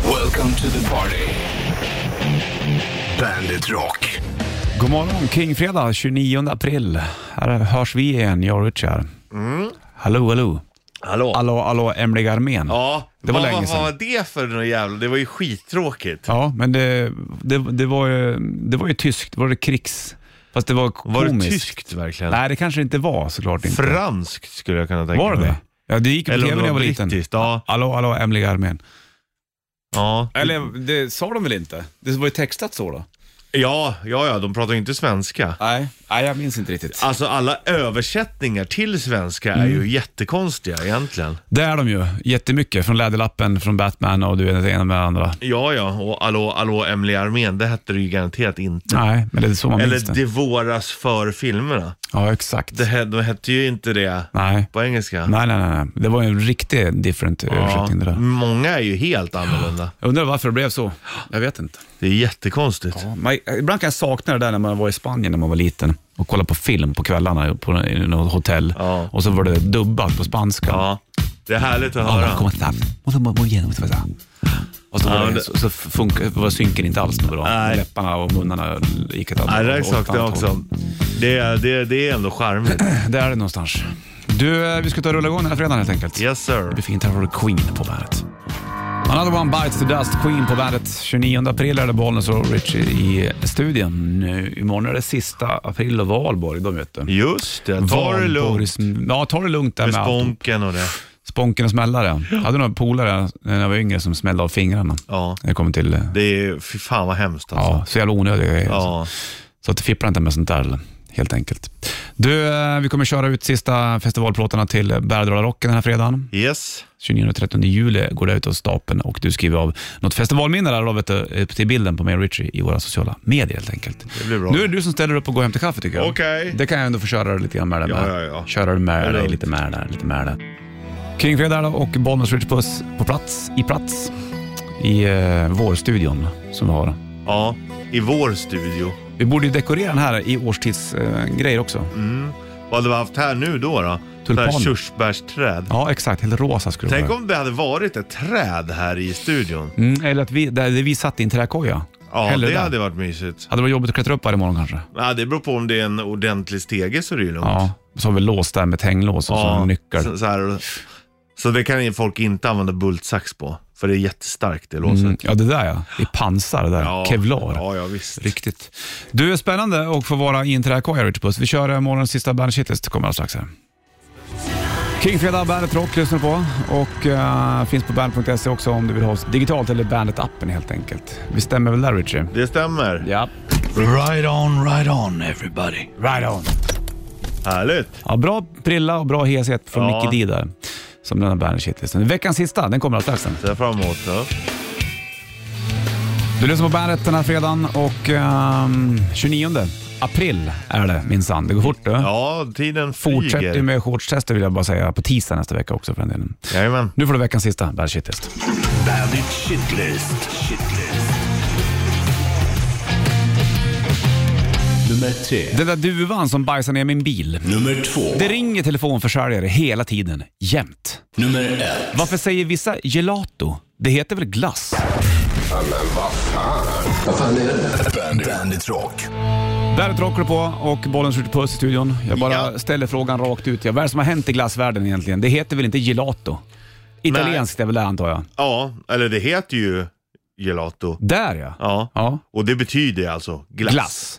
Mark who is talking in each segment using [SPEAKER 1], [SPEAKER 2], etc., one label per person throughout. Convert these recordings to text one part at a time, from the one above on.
[SPEAKER 1] Welcome to the party. Bandit Rock.
[SPEAKER 2] God morgon, Kingfredag 29 april. Här hörs vi igen, jag och Richard. Hallå, hallå.
[SPEAKER 3] Hallå?
[SPEAKER 2] Hallå, hallå, Emliga armén.
[SPEAKER 3] Ja,
[SPEAKER 2] Det var
[SPEAKER 3] vad,
[SPEAKER 2] länge
[SPEAKER 3] vad
[SPEAKER 2] sedan.
[SPEAKER 3] var det för något jävla, det var ju skittråkigt.
[SPEAKER 2] Ja, men det, det, det, var ju, det var ju tyskt, var det krigs... Fast det var komiskt.
[SPEAKER 3] Var det tyskt verkligen?
[SPEAKER 2] Nej, det kanske inte var såklart inte.
[SPEAKER 3] Franskt skulle jag kunna tänka
[SPEAKER 2] var det
[SPEAKER 3] mig.
[SPEAKER 2] det? Ja, det gick på
[SPEAKER 3] Eller om
[SPEAKER 2] tv
[SPEAKER 3] det
[SPEAKER 2] när jag
[SPEAKER 3] var
[SPEAKER 2] var liten.
[SPEAKER 3] brittiskt, ja.
[SPEAKER 2] Hallå, hallå, Emliga armén.
[SPEAKER 3] Ja.
[SPEAKER 2] Eller det sa de väl inte? Det var ju textat så då?
[SPEAKER 3] ja, ja, ja, de pratar ju inte svenska.
[SPEAKER 2] Nej, Nej jag minns inte riktigt.
[SPEAKER 3] Alltså alla översättningar till svenska är
[SPEAKER 2] Mm.
[SPEAKER 3] ju jättekonstiga egentligen.
[SPEAKER 2] Det är de ju, jättemycket. Från Läderlappen, från Batman och du vet det ena med det andra.
[SPEAKER 3] Ja, ja, och Allå, allå, Emily Armén, det hette det ju garanterat inte.
[SPEAKER 2] Nej, men det är så man minns
[SPEAKER 3] Eller
[SPEAKER 2] det.
[SPEAKER 3] Det våras för filmerna.
[SPEAKER 2] Ja, exakt.
[SPEAKER 3] Det, he- de hette ju inte det
[SPEAKER 2] Nej.
[SPEAKER 3] på engelska.
[SPEAKER 2] Nej, nej, nej, nej. Det var ju en riktig different
[SPEAKER 3] Ja,
[SPEAKER 2] översättning det där.
[SPEAKER 3] många är ju helt annorlunda.
[SPEAKER 2] Jag undrar varför det blev så. Jag vet inte.
[SPEAKER 3] Det är jättekonstigt.
[SPEAKER 2] Ja, man, ibland kan jag sakna det där när man var i Spanien när man var liten och kollade på film på kvällarna på, i något hotell.
[SPEAKER 3] Ja.
[SPEAKER 2] Och så var det dubbat på spanska.
[SPEAKER 3] Ja, det är härligt att
[SPEAKER 2] Ja,
[SPEAKER 3] höra.
[SPEAKER 2] kom igen, kom igen, kom igen, kom igen. Och så,
[SPEAKER 3] Ja,
[SPEAKER 2] var det,
[SPEAKER 3] men det-
[SPEAKER 2] så, så funkar, var synken inte alls bra.
[SPEAKER 3] Nej.
[SPEAKER 2] Läpparna och munnarna gick ett
[SPEAKER 3] Ja,
[SPEAKER 2] annat
[SPEAKER 3] det där
[SPEAKER 2] åt ett
[SPEAKER 3] saknar jag
[SPEAKER 2] annat håll.
[SPEAKER 3] också. Det, är- det, det är ändå charmigt.
[SPEAKER 2] Det är det någonstans. Du, eh, vi ska ta och rulla igång den här fredagen helt enkelt.
[SPEAKER 3] Yes
[SPEAKER 2] Det blir
[SPEAKER 3] sir.
[SPEAKER 2] fint. Här har du Queen på bandet. Another one bites the dust, Queen på bandet. 29 april är det Bollnäs och Richie i studion. Nu, imorgon är det sista april och valborg, de vet du.
[SPEAKER 3] Just det, ta det lugnt.
[SPEAKER 2] Valborgs- Ja, ta det lugnt där
[SPEAKER 3] Med
[SPEAKER 2] med, allt.
[SPEAKER 3] sponken och det.
[SPEAKER 2] Sponken och smällare. Jag hade några polare när jag var yngre som smällde av fingrarna.
[SPEAKER 3] Ja.
[SPEAKER 2] När det kom till... eh,
[SPEAKER 3] Det är, fy fan vad hemskt alltså.
[SPEAKER 2] Ja, så jävla onödiga grejer.
[SPEAKER 3] Ja.
[SPEAKER 2] Så att fippla inte med sånt där helt enkelt. Du, eh, vi kommer köra ut sista festivalplåtarna till Bärdalarocken den här fredagen.
[SPEAKER 3] Yes.
[SPEAKER 2] 29-30 juli går det ut av stapeln och du skriver av något festivalminne där då, vet du, eh, till bilden på mig och Richie i våra sociala medier helt enkelt.
[SPEAKER 3] Det blir bra.
[SPEAKER 2] Nu är det du som ställer upp och går hem till kaffe tycker jag.
[SPEAKER 3] Okej.
[SPEAKER 2] Det kan jag ändå få köra lite grann med dig
[SPEAKER 3] Ja,
[SPEAKER 2] med.
[SPEAKER 3] ja, ja.
[SPEAKER 2] Köra med dig
[SPEAKER 3] lugnt.
[SPEAKER 2] lite med där, lite med där. Kingfredag då och Bollnäs Rich Puss på plats, i plats i eh, vårstudion som vi har.
[SPEAKER 3] Ja, i vår studio.
[SPEAKER 2] Vi borde ju dekorera den här i årstidsgrejer eh, grejer också.
[SPEAKER 3] Mm. Vad hade vi haft här nu då? då?
[SPEAKER 2] Tulpan.
[SPEAKER 3] Sådär körsbärsträd.
[SPEAKER 2] Ja, exakt. Helt rosa skulle det
[SPEAKER 3] Tänk
[SPEAKER 2] vara.
[SPEAKER 3] om det hade varit ett träd här i studion.
[SPEAKER 2] Mm, eller att vi, där vi satt i en träkoja.
[SPEAKER 3] Ja,
[SPEAKER 2] Hellre
[SPEAKER 3] det
[SPEAKER 2] där.
[SPEAKER 3] hade varit mysigt.
[SPEAKER 2] Hade det varit jobbigt att klättra upp varje morgon kanske?
[SPEAKER 3] Ja, det beror på om det är en ordentlig stege så är det ju lugnt.
[SPEAKER 2] Ja, så har vi låst där med ett hänglås och så en nyckel.
[SPEAKER 3] Så, så, här, så det kan ju folk inte använda bultsax på, för det är jättestarkt det låset.
[SPEAKER 2] Mm, ja, det där ja. I pansar det där.
[SPEAKER 3] Ja,
[SPEAKER 2] Kevlar.
[SPEAKER 3] Ja, ja visst.
[SPEAKER 2] Riktigt. Du, är spännande att få vara i en träkoja, Richard Puss. Vi kör eh, morgonens sista Bandet Shitlist, kommer alldeles strax här. Kingfredag, Bandet Rock lyssnar du på och eh, finns på bandet.se också om du vill ha oss digitalt eller Bandet-appen helt enkelt. Vi stämmer väl där, Richie?
[SPEAKER 3] Det stämmer.
[SPEAKER 2] Ja.
[SPEAKER 1] Right on, right on everybody.
[SPEAKER 2] Right on.
[SPEAKER 3] Härligt.
[SPEAKER 2] Ja, bra prilla och bra heshet från
[SPEAKER 3] Ja.
[SPEAKER 2] Mickey D där, som den här Bandet Shitlisten. Veckans sista, den kommer alldeles strax. sen.
[SPEAKER 3] Ser jag fram emot. Ja.
[SPEAKER 2] Du lyssnar på Bandet den här fredagen och ehm, 29 april är det minsann. Det går fort du.
[SPEAKER 3] ja, tiden
[SPEAKER 2] Fortsätt ju
[SPEAKER 3] flyger.
[SPEAKER 2] med shortstester vill jag bara säga på tisdag nästa vecka också för den delen.
[SPEAKER 3] Jajamän.
[SPEAKER 2] Nu får du veckans sista Bandet Shitlist.
[SPEAKER 1] Bandit Shitlist. Shitlist. Nummer tre.
[SPEAKER 2] Den där duvan som bajsar ner min bil.
[SPEAKER 1] Nummer två.
[SPEAKER 2] Det ringer telefonförsäljare hela tiden, jämt.
[SPEAKER 1] Nummer ett.
[SPEAKER 2] Varför säger vissa gelato? Det heter väl glass?
[SPEAKER 1] Bandit, Bandit Rock.
[SPEAKER 2] Där tråkar du på och bollen skjuter puss i studion. Jag bara
[SPEAKER 3] Ja.
[SPEAKER 2] ställer frågan rakt ut. Ja, vad är det som har hänt i glassvärlden egentligen? Det heter väl inte gelato? Italienskt är väl det antar jag.
[SPEAKER 3] Ja, eller det heter ju gelato.
[SPEAKER 2] Där ja.
[SPEAKER 3] Ja,
[SPEAKER 2] Ja,
[SPEAKER 3] och det betyder alltså glass.
[SPEAKER 2] glass.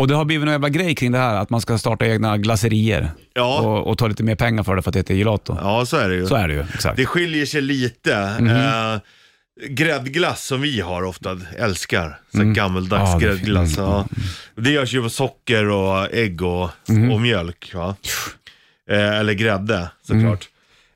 [SPEAKER 2] Och det har blivit någon jävla grej kring det här att man ska starta egna glasserier
[SPEAKER 3] Ja.
[SPEAKER 2] och, och ta lite mer pengar för det för att det heter gelato.
[SPEAKER 3] Ja, så är det ju.
[SPEAKER 2] Så är det ju, exakt.
[SPEAKER 3] Det skiljer sig lite.
[SPEAKER 2] Mhm.
[SPEAKER 3] Eh, gräddglass som vi har ofta, älskar. Så Gammeldags
[SPEAKER 2] Mm. Ja, det fin-
[SPEAKER 3] gräddglass.
[SPEAKER 2] mm, Mhm.
[SPEAKER 3] Ja. Det görs ju på socker och ägg och, och mjölk. Va? Eh, eller grädde såklart.
[SPEAKER 2] Mm.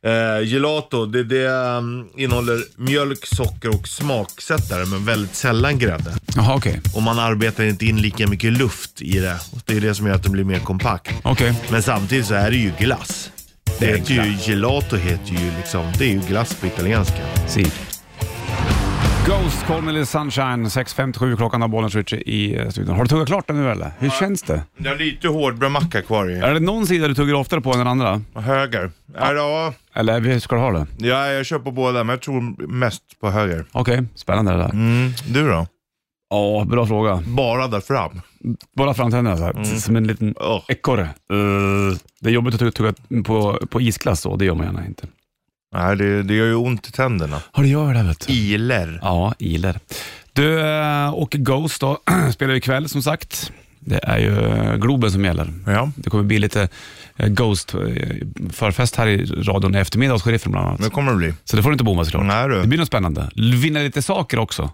[SPEAKER 3] Eh, gelato, det, det mm, innehåller mjölk, socker och smaksättare men väldigt sällan grädde.
[SPEAKER 2] Jaha, okej.
[SPEAKER 3] Och man arbetar inte in lika mycket luft i det. Och det är det som gör att den blir mer kompakt.
[SPEAKER 2] Okej.
[SPEAKER 3] Men samtidigt så är det ju glass. Det
[SPEAKER 2] Det är
[SPEAKER 3] heter ju gelato heter ju liksom, det är ju glass på italienska.
[SPEAKER 2] Si. Ghost, Call Me Little Sunshine. 6.57 klockan har bollen Richie i eh, studion. Har du tuggat klart den nu eller? Hur känns det?
[SPEAKER 3] Jag har lite hårdbrödmacka kvar i.
[SPEAKER 2] Är det någon sida du tuggar oftare på än den andra?
[SPEAKER 3] Höger. Ja. Ja,
[SPEAKER 2] Eller hur ska du ha det?
[SPEAKER 3] ja, jag kör på båda, men jag tror mest på höger.
[SPEAKER 2] Okej, spännande det där. Ja,
[SPEAKER 3] Mm, du då?
[SPEAKER 2] bra fråga.
[SPEAKER 3] Bara där fram.
[SPEAKER 2] Bara framtänderna så
[SPEAKER 3] Mm.
[SPEAKER 2] här, som en liten
[SPEAKER 3] Oh.
[SPEAKER 2] ekorre. Eh, det är jobbigt att tugga, tugga på, på isglass så, det gör man gärna inte.
[SPEAKER 3] Nej, det, det gör ju ont i tänderna.
[SPEAKER 2] Ja, det gör det vet du.
[SPEAKER 3] Iler.
[SPEAKER 2] Ja, iler. Du, eh, och Ghost då, spelar ju ikväll som sagt. Det är ju eh, Globen som gäller.
[SPEAKER 3] Ja.
[SPEAKER 2] Det kommer bli lite eh, Ghost-förfest här i radion i eftermiddag hos sheriffen bland annat.
[SPEAKER 3] Det kommer det bli.
[SPEAKER 2] Så det får du inte bomma såklart.
[SPEAKER 3] Nej
[SPEAKER 2] Det
[SPEAKER 3] du.
[SPEAKER 2] blir något spännande. Vinna lite saker också.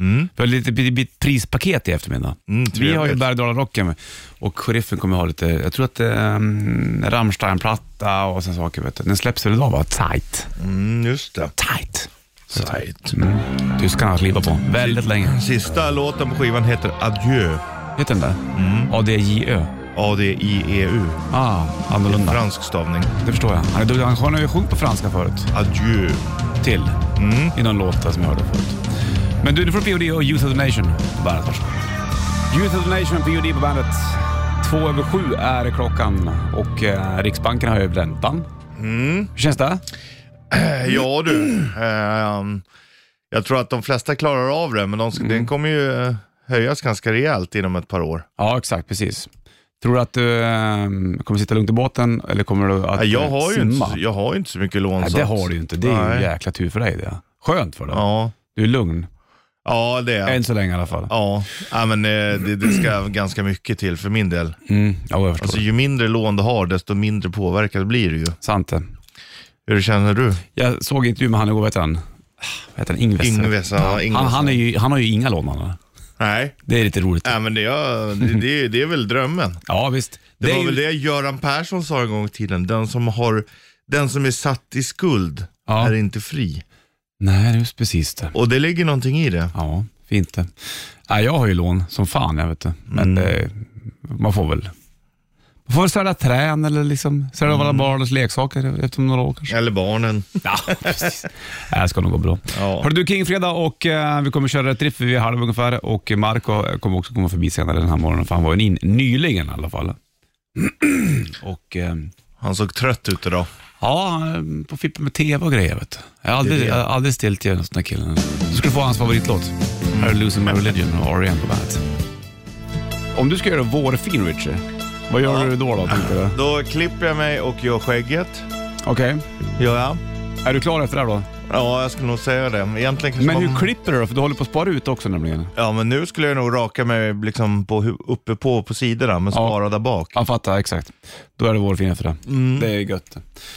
[SPEAKER 3] Mm.
[SPEAKER 2] Vi har lite det blir ett prispaket i eftermiddag.
[SPEAKER 3] Mm,
[SPEAKER 2] Vi har ju
[SPEAKER 3] trevligt.
[SPEAKER 2] Bergdala-rocken och sheriffen kommer ha lite, jag tror att um, Rammstein-platta och sådana saker. Vet du. Den släpps väl idag va? Tight.
[SPEAKER 3] Mm, just det.
[SPEAKER 2] Tight.
[SPEAKER 3] Tight.
[SPEAKER 2] Mm. Tyskarna har klivat på väldigt länge.
[SPEAKER 3] Sista låten på skivan heter Adieu.
[SPEAKER 2] Heter den det? Mm. ADJÖ.
[SPEAKER 3] A-D-I-E-U.
[SPEAKER 2] Ah, annorlunda.
[SPEAKER 3] E Fransk stavning.
[SPEAKER 2] Det förstår jag. Han, är duktig. han har ju sjungit på franska förut.
[SPEAKER 3] Adieu.
[SPEAKER 2] Till.
[SPEAKER 3] Mm.
[SPEAKER 2] I någon låt där som jag hörde förut. Men du, du får POD och Youth of the Nation på bandet. Varsågod. Youth of the Nation, POD på bandet. Två över sju är klockan och eh, Riksbanken har ju räntan.
[SPEAKER 3] Mm.
[SPEAKER 2] Hur känns det? Mm.
[SPEAKER 3] Eh, Ja du. Ehm, jag tror att de flesta klarar av det, men de, den
[SPEAKER 2] Mm.
[SPEAKER 3] kommer ju eh, höjas ganska rejält inom ett par år.
[SPEAKER 2] Ja, exakt. Precis. Tror du att du eh, kommer sitta lugnt i båten eller kommer du att
[SPEAKER 3] Nej, Äh, jag,
[SPEAKER 2] eh,
[SPEAKER 3] har ju inte,
[SPEAKER 2] simma?
[SPEAKER 3] så- jag har ju inte så mycket lån.
[SPEAKER 2] Nej,
[SPEAKER 3] så
[SPEAKER 2] det
[SPEAKER 3] att-
[SPEAKER 2] har du ju inte. Det är ju
[SPEAKER 3] Nej.
[SPEAKER 2] en jäkla tur för dig det. Skönt för dig.
[SPEAKER 3] Ja,
[SPEAKER 2] Du är lugn.
[SPEAKER 3] ja det är
[SPEAKER 2] Än så länge i alla fall.
[SPEAKER 3] Ja, ja men eh, det, det ska ganska mycket till för min del.
[SPEAKER 2] Mm. Ja, jag förstår.
[SPEAKER 3] Alltså ju mindre lån du har, desto mindre påverkad blir du ju.
[SPEAKER 2] Sant det.
[SPEAKER 3] Hur känner du?
[SPEAKER 2] Jag såg intervju med han igår, vet han? Vad heter han? Ingves?
[SPEAKER 3] Ingves, ja, Ingves.
[SPEAKER 2] Han, han, är ju, han har ju inga lån han har.
[SPEAKER 3] Nej,
[SPEAKER 2] Det är lite roligt.
[SPEAKER 3] ja, men det, är- det, det, är- det är väl drömmen.
[SPEAKER 2] Ja, visst.
[SPEAKER 3] Det, var
[SPEAKER 2] är ju-
[SPEAKER 3] väl det Göran Persson sa en gång i tiden, den som, har, den som är satt i skuld
[SPEAKER 2] Ja.
[SPEAKER 3] är inte fri.
[SPEAKER 2] Nej, det är just precis det.
[SPEAKER 3] Och det ligger någonting i det.
[SPEAKER 2] Ja, fint det. Nej, jag har ju lån som fan, jag vet det. Men
[SPEAKER 3] Mm.
[SPEAKER 2] eh, man får väl man får väl sälja trän eller liksom sälja
[SPEAKER 3] Mm.
[SPEAKER 2] alla barnens leksaker efter några år kanske.
[SPEAKER 3] Eller barnen.
[SPEAKER 2] Ja, precis. Nej, Det ska nog gå bra.
[SPEAKER 3] Ja.
[SPEAKER 2] Hörru du, Kingfredag och eh, vi kommer köra ett riff vid halv ungefär och Marco eh, kommer också komma förbi senare den här morgonen för han var ju in nyligen i alla fall. och eh,
[SPEAKER 3] Han såg trött ut idag.
[SPEAKER 2] ja, eh, på fippen med tv och grejer vet du. Jag har aldrig,
[SPEAKER 3] Det är
[SPEAKER 2] jag
[SPEAKER 3] det.
[SPEAKER 2] har aldrig ställt till den här killen. Du skulle få hans favoritlåt. Här är Losing My Religion och R.E.M. på bandet. Om du ska göra vårfin Richie, vad gör
[SPEAKER 3] Ja.
[SPEAKER 2] du då då tänkte du?
[SPEAKER 3] Då klipper jag mig och gör skägget.
[SPEAKER 2] Okej,
[SPEAKER 3] Gör jag?
[SPEAKER 2] är du klar efter det här då?
[SPEAKER 3] Ja, jag skulle nog säga det. Egentligen kanske
[SPEAKER 2] Men
[SPEAKER 3] man-
[SPEAKER 2] hur klipper du då? För du håller på att spara ut också nämligen.
[SPEAKER 3] Ja, men nu skulle jag nog raka mig liksom på, hu- uppe på, på sidorna, men spara där bak.
[SPEAKER 2] Jag fattar, exakt. Mm. Då är det vårfin efter det. Det är gött.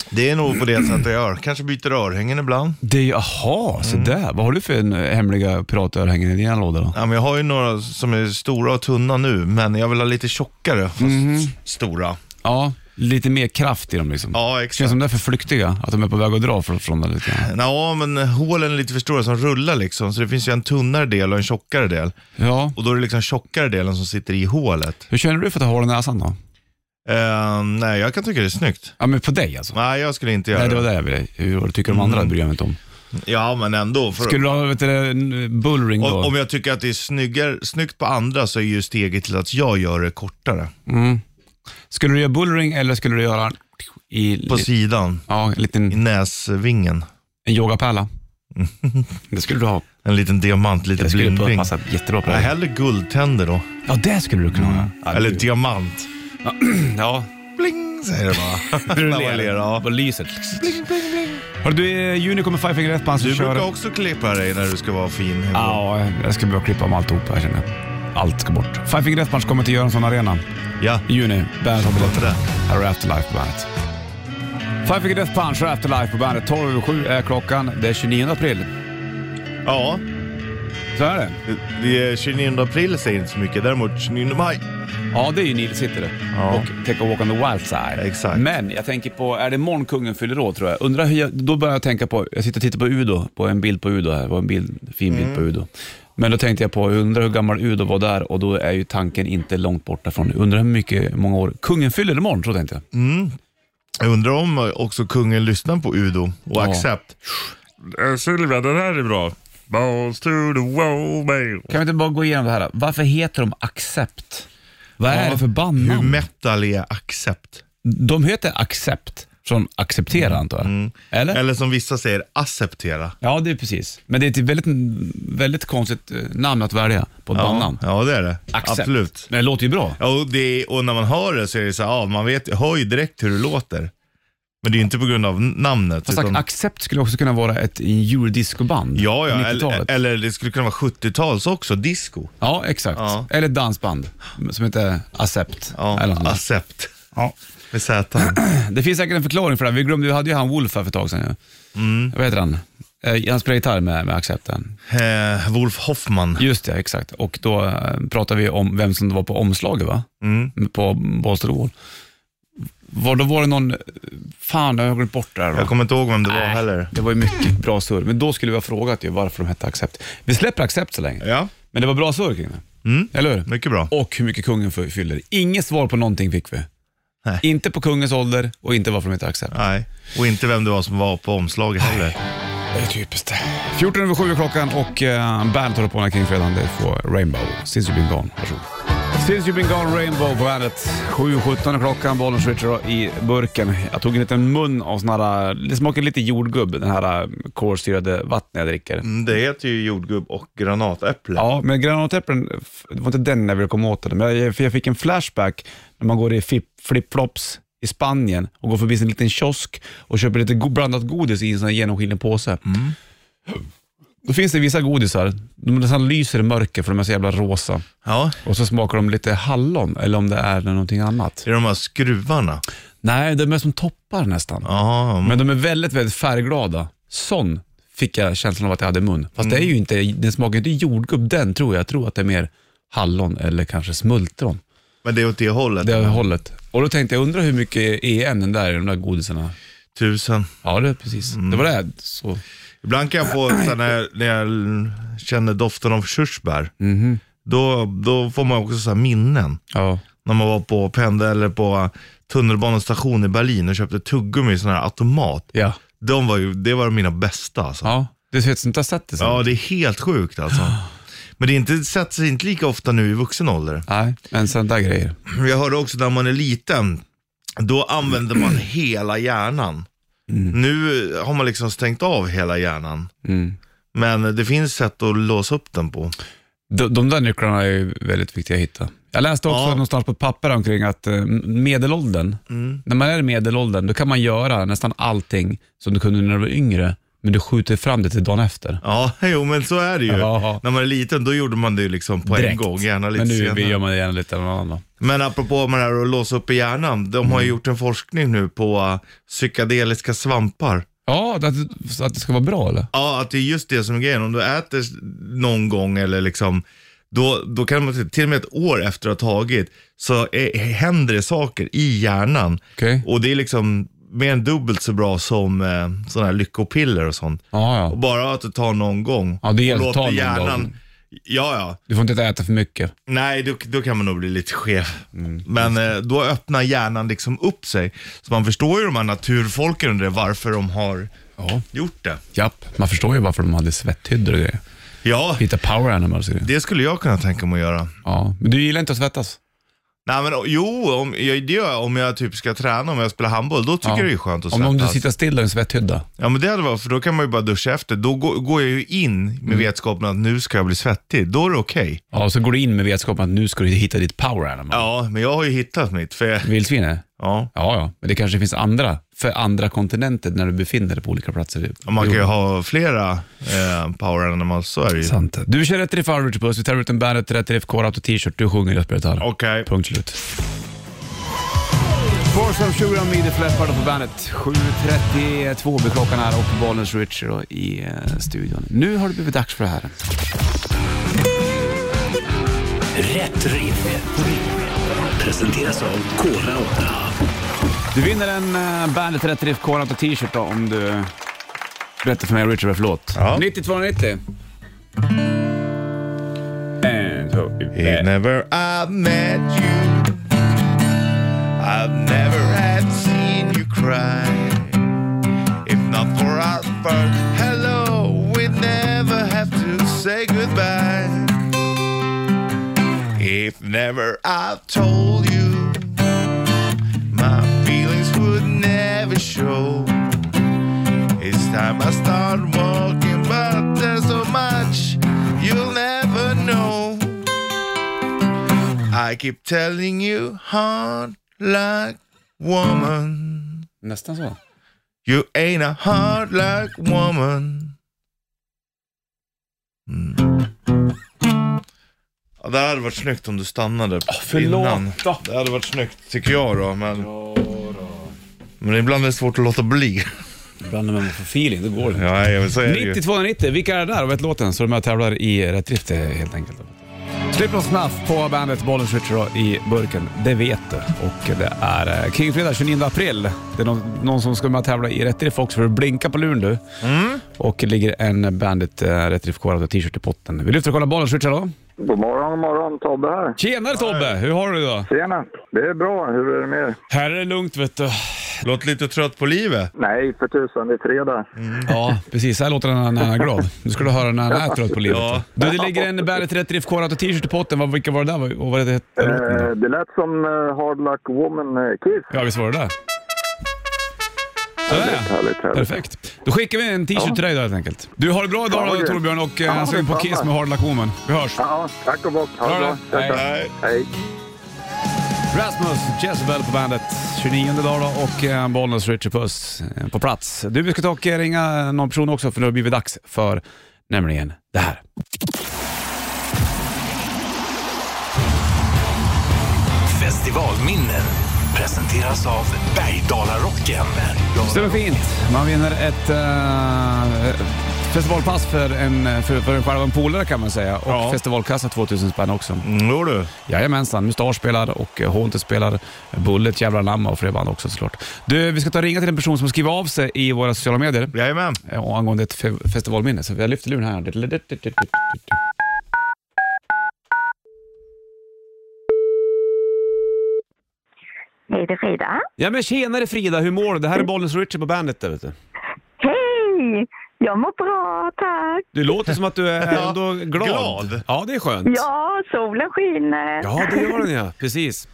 [SPEAKER 3] Det är nog på det sättet jag gör. Kanske byter örhängen ibland.
[SPEAKER 2] Det är ju, aha,
[SPEAKER 3] Mm.
[SPEAKER 2] så där. Vad har du för en, eh, hemliga piratörhängen i dina lådor då?
[SPEAKER 3] Ja, men jag har ju några som är stora och tunna nu, men jag vill ha lite tjockare, fast
[SPEAKER 2] Mhm.
[SPEAKER 3] s- stora.
[SPEAKER 2] Ja, lite mer kraft i dem liksom.
[SPEAKER 3] Ja,
[SPEAKER 2] Känns
[SPEAKER 3] exakt.
[SPEAKER 2] som de är för flyktiga, att de är på väg att dra från, från den lite grann.
[SPEAKER 3] Ja, men hålen är lite för stora som rullar liksom, så det finns ju en tunnare del och en tjockare del.
[SPEAKER 2] Ja.
[SPEAKER 3] Och då är det liksom tjockare delen som sitter i hålet.
[SPEAKER 2] Hur känner du för att ha hål i näsan då?
[SPEAKER 3] Eh, nej, jag kan tycka det är snyggt.
[SPEAKER 2] Ja, men på dig alltså?
[SPEAKER 3] Nej, jag skulle inte göra
[SPEAKER 2] Nej,
[SPEAKER 3] det.
[SPEAKER 2] det var det jag ville. Hur vad tycker de andra
[SPEAKER 3] Mm.
[SPEAKER 2] bryr jag mig inte om.
[SPEAKER 3] Ja, men ändå. För...
[SPEAKER 2] Skulle du ha vet du, en eh, bullring
[SPEAKER 3] Om,
[SPEAKER 2] då?
[SPEAKER 3] om jag tycker att det är snyggare, snyggt på andra så är ju steget till att jag gör det kortare.
[SPEAKER 2] Skulle du göra bullring eller skulle du göra i
[SPEAKER 3] På sidan,
[SPEAKER 2] ja, en
[SPEAKER 3] i
[SPEAKER 2] liten
[SPEAKER 3] näsvingen.
[SPEAKER 2] en yogapärla?
[SPEAKER 3] Mm.
[SPEAKER 2] Det skulle du ha.
[SPEAKER 3] En liten diamant, lite
[SPEAKER 2] Det skulle
[SPEAKER 3] bling-bling.
[SPEAKER 2] passa jättebra på
[SPEAKER 3] Nej,
[SPEAKER 2] dig.
[SPEAKER 3] hellre guldtänder då.
[SPEAKER 2] Ja, det skulle du kunna ha. Ja,
[SPEAKER 3] Eller
[SPEAKER 2] det-
[SPEAKER 3] diamant.
[SPEAKER 2] Ja,
[SPEAKER 3] Bling säger det bara. När man ler, ja.
[SPEAKER 2] På lyset. Hörru du, i juni kommer Five Finger Death Punch
[SPEAKER 3] Du
[SPEAKER 2] och kör...
[SPEAKER 3] brukar också klippa dig när du ska vara fin.
[SPEAKER 2] Ja, jag ska börja klippa om alltihopa här känner jag. Allt ska bort. Five Finger Death Punch kommer till Göransson Arena
[SPEAKER 3] Ja.
[SPEAKER 2] i juni. Bandet har biljetter.
[SPEAKER 3] Varför det?
[SPEAKER 2] Här är Afterlife på bandet. Five Finger Death Punch och Afterlife på bandet. 12 över 7 är klockan. Det är 29 april.
[SPEAKER 3] Ja,
[SPEAKER 2] Så är det.
[SPEAKER 3] det- det är 29 april säger inte så mycket. Däremot 29 maj.
[SPEAKER 2] Ja, det är ju Neil City det.
[SPEAKER 3] Ja.
[SPEAKER 2] Och Take a Walk on the Wild Side.
[SPEAKER 3] Exakt.
[SPEAKER 2] Men jag tänker på, är det imorgon kungen fyller år tror jag? Undrar hur jag, då börjar jag tänka på, jag sitter och tittar på Udo, på en bild på Udo här, det var en bild, fin bild
[SPEAKER 3] Mm.
[SPEAKER 2] på Udo. Men då tänkte jag på, jag undrar hur gammal Udo var där och då är ju tanken inte långt borta från nu. Undrar hur mycket, många år kungen fyller imorgon, så tänkte jag.
[SPEAKER 3] Mm. Jag undrar om också kungen lyssnar på Udo och
[SPEAKER 2] Ja.
[SPEAKER 3] Accept. Sylvia, Eh, den här är bra. balls to the wall, baby.
[SPEAKER 2] Kan vi inte bara gå igenom det här? då? Varför heter de Accept? Vad är det för
[SPEAKER 3] Hur
[SPEAKER 2] bandnamn?
[SPEAKER 3] metal är accept?
[SPEAKER 2] De heter Accept, som acceptera
[SPEAKER 3] Mm.
[SPEAKER 2] antar jag. Eller?
[SPEAKER 3] Eller som vissa säger, acceptera.
[SPEAKER 2] Ja, det är precis. Men det är ett väldigt, väldigt konstigt eh, namn att välja på ett
[SPEAKER 3] Ja,
[SPEAKER 2] bandnamn.
[SPEAKER 3] ja, det är det.
[SPEAKER 2] Accept.
[SPEAKER 3] Absolut.
[SPEAKER 2] Men det låter ju bra.
[SPEAKER 3] Ja, och, det är, och när man hör det så är det så här, ja, man vet, hör ju direkt hur det låter. Men det är ju inte på grund av n- namnet.
[SPEAKER 2] Fast
[SPEAKER 3] utan-
[SPEAKER 2] Accept skulle också kunna vara ett eurodiscoband
[SPEAKER 3] ja, ja.
[SPEAKER 2] på 90-talet.
[SPEAKER 3] Eller, eller det skulle kunna vara 70-tals också, disco.
[SPEAKER 2] ja, exakt.
[SPEAKER 3] Ja.
[SPEAKER 2] Eller ett dansband som heter Accept.
[SPEAKER 3] Ja,
[SPEAKER 2] Eller något annat.
[SPEAKER 3] accept.
[SPEAKER 2] ja.
[SPEAKER 3] Med Z.
[SPEAKER 2] Det finns säkert en förklaring för det. här. Vi glömde, vi hade ju han Wolf här för ett tag sedan. ju.
[SPEAKER 3] Mm.
[SPEAKER 2] Vad heter han? Eh, Han spelar gitarr med, med Accepten.
[SPEAKER 3] Eh, Wolf Hoffman.
[SPEAKER 2] Just det, exakt. Och då eh, pratade vi om vem som var på omslaget va?
[SPEAKER 3] Mm.
[SPEAKER 2] På Bolster Wall. Var, då var det någon, fan jag har glömt bort det här. Va?
[SPEAKER 3] Jag kommer inte ihåg vem det var
[SPEAKER 2] Nej,
[SPEAKER 3] heller.
[SPEAKER 2] Det var ju mycket bra surr, men då skulle vi ha frågat ju varför de hette Accept. Vi släpper Accept så länge,
[SPEAKER 3] Ja,
[SPEAKER 2] men det var bra surr kring det.
[SPEAKER 3] Mm.
[SPEAKER 2] Eller hur?
[SPEAKER 3] mycket bra.
[SPEAKER 2] Och hur mycket kungen fy- fyller. Inget svar på någonting fick vi.
[SPEAKER 3] Nej.
[SPEAKER 2] Inte på kungens ålder och inte varför de hette Accept.
[SPEAKER 3] Nej, och inte vem det var som var på omslaget heller.
[SPEAKER 2] Det är typiskt. 14 över 7 är klockan och uh, bandet håller på när Kingfredagen. Det får Rainbow. Since you've been gone. Varsågod. Since you've been gone Rainbow på bandet. 7.17 är klockan, bollen switchar i burken. Jag tog en liten mun av sån här, det smakar lite jordgubb, den här eh, kolsyrade vattnet jag dricker.
[SPEAKER 3] Mm, Det heter ju jordgubb och granatäpple.
[SPEAKER 2] Ja, men granatäpplen, f- det var inte den jag ville komma åt det, men jag, för jag fick en flashback när man går i flip- flipflops i Spanien och går förbi sin liten kiosk och köper lite go- blandat godis i en sån här genomskinlig påse. Då finns det vissa godisar, de nästan lyser i mörker för de är så jävla rosa.
[SPEAKER 3] ja.
[SPEAKER 2] Och så smakar de lite hallon, eller om det är någonting annat.
[SPEAKER 3] Det är de här skruvarna.
[SPEAKER 2] Nej, de är som toppar nästan.
[SPEAKER 3] Ja,
[SPEAKER 2] Men de är väldigt, väldigt färgglada. Sån fick jag känslan av att jag hade i mun. Fast det är ju inte, den smakar inte jordgubb den tror jag. Jag tror att det är mer hallon eller kanske smultron.
[SPEAKER 3] men det är åt det hållet.
[SPEAKER 2] Det är hållet. Och då tänkte jag, undrar hur mycket EN den där i de där godisarna?
[SPEAKER 3] Tusen.
[SPEAKER 2] Ja, det är precis. Det var det. här. Så.
[SPEAKER 3] Ibland kan jag få, så här, när, jag, när jag känner doften av körsbär,
[SPEAKER 2] Mhm.
[SPEAKER 3] då, då får man också så här minnen.
[SPEAKER 2] Ja.
[SPEAKER 3] När man var på pendel eller på tunnelbanestation i Berlin och köpte tuggummi i sån här automat.
[SPEAKER 2] Ja.
[SPEAKER 3] De var ju, det var mina bästa alltså.
[SPEAKER 2] ja. Det är ett sånt där sätt det ser.
[SPEAKER 3] Ja, det är helt sjukt alltså. Men det är inte, sätter sig inte lika ofta nu i vuxen ålder.
[SPEAKER 2] Nej, men sånt där grejer.
[SPEAKER 3] Jag hörde också när man är liten, då använder man hela hjärnan.
[SPEAKER 2] Mm.
[SPEAKER 3] Nu har man liksom stängt av hela hjärnan. Men det finns sätt att låsa upp den på.
[SPEAKER 2] De, de där nycklarna är ju väldigt viktiga att hitta. Jag läste också
[SPEAKER 3] Ja.
[SPEAKER 2] någonstans på ett papper omkring att eh, medelåldern,
[SPEAKER 3] Mm.
[SPEAKER 2] när man är i medelåldern, då kan man göra nästan allting som du kunde när du var yngre, men du skjuter fram det till dagen efter.
[SPEAKER 3] Ja, jo men så är det ju.
[SPEAKER 2] Ja.
[SPEAKER 3] När man är liten då gjorde man det ju liksom på en
[SPEAKER 2] Direkt.
[SPEAKER 3] gång, gärna lite
[SPEAKER 2] Men nu
[SPEAKER 3] senare.
[SPEAKER 2] vi gör man det gärna lite av någon annan.
[SPEAKER 3] Men apropå med det här att låsa upp i hjärnan, de
[SPEAKER 2] Mm.
[SPEAKER 3] har ju gjort en forskning nu på uh, psykedeliska svampar.
[SPEAKER 2] Ja, att, så att det ska vara bra eller?
[SPEAKER 3] Ja, att det är just det som är grejen. Om du äter någon gång eller liksom, då, då kan man till och med ett år efter att ha tagit så är, händer det saker i hjärnan.
[SPEAKER 2] Okej.
[SPEAKER 3] Och det är liksom mer än dubbelt så bra som eh, sådana här lyckopiller och sånt.
[SPEAKER 2] Ja, ja.
[SPEAKER 3] Och bara att du tar någon gång
[SPEAKER 2] Ja, det gäller
[SPEAKER 3] och
[SPEAKER 2] att ta
[SPEAKER 3] låter
[SPEAKER 2] någon
[SPEAKER 3] hjärnan...
[SPEAKER 2] gång.
[SPEAKER 3] Ja, ja.
[SPEAKER 2] Du får inte äta för mycket.
[SPEAKER 3] Nej, då, då kan man nog bli lite skev.
[SPEAKER 2] Mm,
[SPEAKER 3] Men eh, då öppnar hjärnan liksom upp sig. Så man förstår ju de här naturfolken undrar varför de har
[SPEAKER 2] Ja.
[SPEAKER 3] gjort det.
[SPEAKER 2] Japp, man förstår ju varför de hade svetthyddor och grejer.
[SPEAKER 3] Ja,
[SPEAKER 2] Hitta power animals och grejer.
[SPEAKER 3] det skulle jag kunna tänka mig att göra.
[SPEAKER 2] Ja, men du gillar inte att svettas?
[SPEAKER 3] Nej men jo, om, jag, det gör jag om jag typ ska träna, om jag spelar handboll, då tycker
[SPEAKER 2] Ja.
[SPEAKER 3] jag det är skönt att
[SPEAKER 2] Om,
[SPEAKER 3] svettas.
[SPEAKER 2] om du sitter still i en svetthydda?
[SPEAKER 3] Ja men det hade varit, för då kan man ju bara duscha efter. Då går, går jag ju in med
[SPEAKER 2] Mm.
[SPEAKER 3] vetskapen att nu ska jag bli svettig, då är det okej.
[SPEAKER 2] Ja, så går du in med vetskapen att nu ska du hitta ditt power animal.
[SPEAKER 3] Ja, men jag har ju hittat mitt, för jag,
[SPEAKER 2] Vildsvin är?
[SPEAKER 3] ja.
[SPEAKER 2] Ja, ja, men det kanske finns andra, för andra kontinenter när du befinner dig på olika platser.
[SPEAKER 3] Och Man kan ju ha flera eh, power animals, så är det ju.
[SPEAKER 2] Sant. Du kör rätt riff Hour, Richard Puss. Vi tar ut en bandet Rätt Riff Core och t-shirt. Du sjunger, jag spelar gitarr.
[SPEAKER 3] Okej.
[SPEAKER 2] Punkt slut. Forsam Shura Midi Fläppar på bandet. 7.32 blir klockan här och Bollens Richard då i eh, studion. Nu har det blivit dags för det här.
[SPEAKER 1] Rätt riff. Presenteras av Kora 8.
[SPEAKER 2] Du vinner en eh, Bandet Rätt Riff Core och t-shirt då, om du berättar för mig Richard vad för låt.
[SPEAKER 3] Ja.
[SPEAKER 2] 9290. En, två,
[SPEAKER 3] If never I met you I've never had seen you cry If not for our first hello we'd never never have to say goodbye. If never I told you, my feelings would never show. It's time I start walking, but there's so much you'll never know. I keep telling you, hard like woman.
[SPEAKER 2] Nästan så.
[SPEAKER 3] You ain't a hard like woman. Mm. Ja, det hade varit snyggt om du stannade
[SPEAKER 2] förlåt
[SPEAKER 3] innan.
[SPEAKER 2] då.
[SPEAKER 3] Det hade varit snyggt tycker jag då, men... Men ibland är det svårt att låta bli.
[SPEAKER 2] Ibland när man får feeling, då går det.
[SPEAKER 3] Ja, jag säger det ju.
[SPEAKER 2] 90-290, vilka är det där och vet låten? Så de här tävlar i rätt drift eh, helt enkelt. Slipper Snuff på bandet Bollen Switcher då i burken, det vet du. Och det är eh, Kingfredag 29 april. Det är någon, någon som ska med och tävla i rätt drift också, för att blinka på luren du. Och det ligger en Bandit eh, rätt drift kvar och t-shirt i potten. Vi lyfter och kollar Bollen Switcher då.
[SPEAKER 4] God morgon, god morgon. Tobbe här.
[SPEAKER 2] Tjenare Tobbe, hur har du det då?
[SPEAKER 4] Tjena. Det är bra. Hur är det med er?
[SPEAKER 2] Här är det lugnt vet du.
[SPEAKER 3] Låt lite trött på livet.
[SPEAKER 4] Nej, för tusan. Det är fredag.
[SPEAKER 2] Mm. Ja, precis. Så här låter den när han är glad. Nu ska du höra när han är trött på livet.
[SPEAKER 3] Ja.
[SPEAKER 2] Du, det ligger en Bandet Rätt Drift Core t-shirt i potten. Vad- Vilka var det där och vad hette låten?
[SPEAKER 4] Eh,
[SPEAKER 2] då?
[SPEAKER 4] det lät som eh, Hard Luck Woman eh, Kiss.
[SPEAKER 2] Ja, visst var det där? Sådär
[SPEAKER 4] Härligt,
[SPEAKER 2] ja.
[SPEAKER 4] härligt.
[SPEAKER 2] Perfekt. Då skickar vi en t-shirt till dig då helt enkelt. Du, har det bra idag
[SPEAKER 4] Ja,
[SPEAKER 2] då
[SPEAKER 4] det-
[SPEAKER 2] Torbjörn och
[SPEAKER 4] Ja,
[SPEAKER 2] eh, sug på
[SPEAKER 4] detsamma.
[SPEAKER 2] Kiss med Hard Luck Woman. Vi hörs.
[SPEAKER 4] Ja, tack och bock. Ha
[SPEAKER 2] Bra
[SPEAKER 4] det bra.
[SPEAKER 2] då.
[SPEAKER 4] Tack,
[SPEAKER 2] Hej.
[SPEAKER 4] tack.
[SPEAKER 3] Nej.
[SPEAKER 4] Hej.
[SPEAKER 2] Rasmus Jezebel på bandet. 29 dag då och eh, Bollnäs Richard Puss eh, på plats. Du, vi ska ta och eh, ringa någon person också för nu har det blivit dags för nämligen det här.
[SPEAKER 1] Festivalminnen presenteras av Bergdalarocken.
[SPEAKER 2] Stämmer fint. Man vinner ett eh, festivalpass för en, för, för en själv och en polare kan man säga. Och
[SPEAKER 3] Ja.
[SPEAKER 2] festivalkassa 2000 spänn också.
[SPEAKER 3] Mm, jo du.
[SPEAKER 2] Jajamensan, Mustasch spelar och eh, Haunted spelar, Bullet, Jävla Anamma och fler band också såklart. Du, vi ska ta och ringa till en person som skriver av sig i våra sociala medier
[SPEAKER 3] Jajamän.
[SPEAKER 2] eh, och angående ett fe- festivalminne. Så jag lyfter luren här.
[SPEAKER 5] Hej, det är Frida.
[SPEAKER 2] Ja men tjenare Frida, hur mår du? Det här är Bollnäs och Richard på bandet där vet du.
[SPEAKER 5] Hej! Jag mår bra, tack.
[SPEAKER 2] Du låter som att du är
[SPEAKER 3] Ja,
[SPEAKER 2] ändå glad.
[SPEAKER 3] glad.
[SPEAKER 2] Ja, det är skönt.
[SPEAKER 5] Ja, solen skiner.
[SPEAKER 2] Ja, det gör den ja. Precis.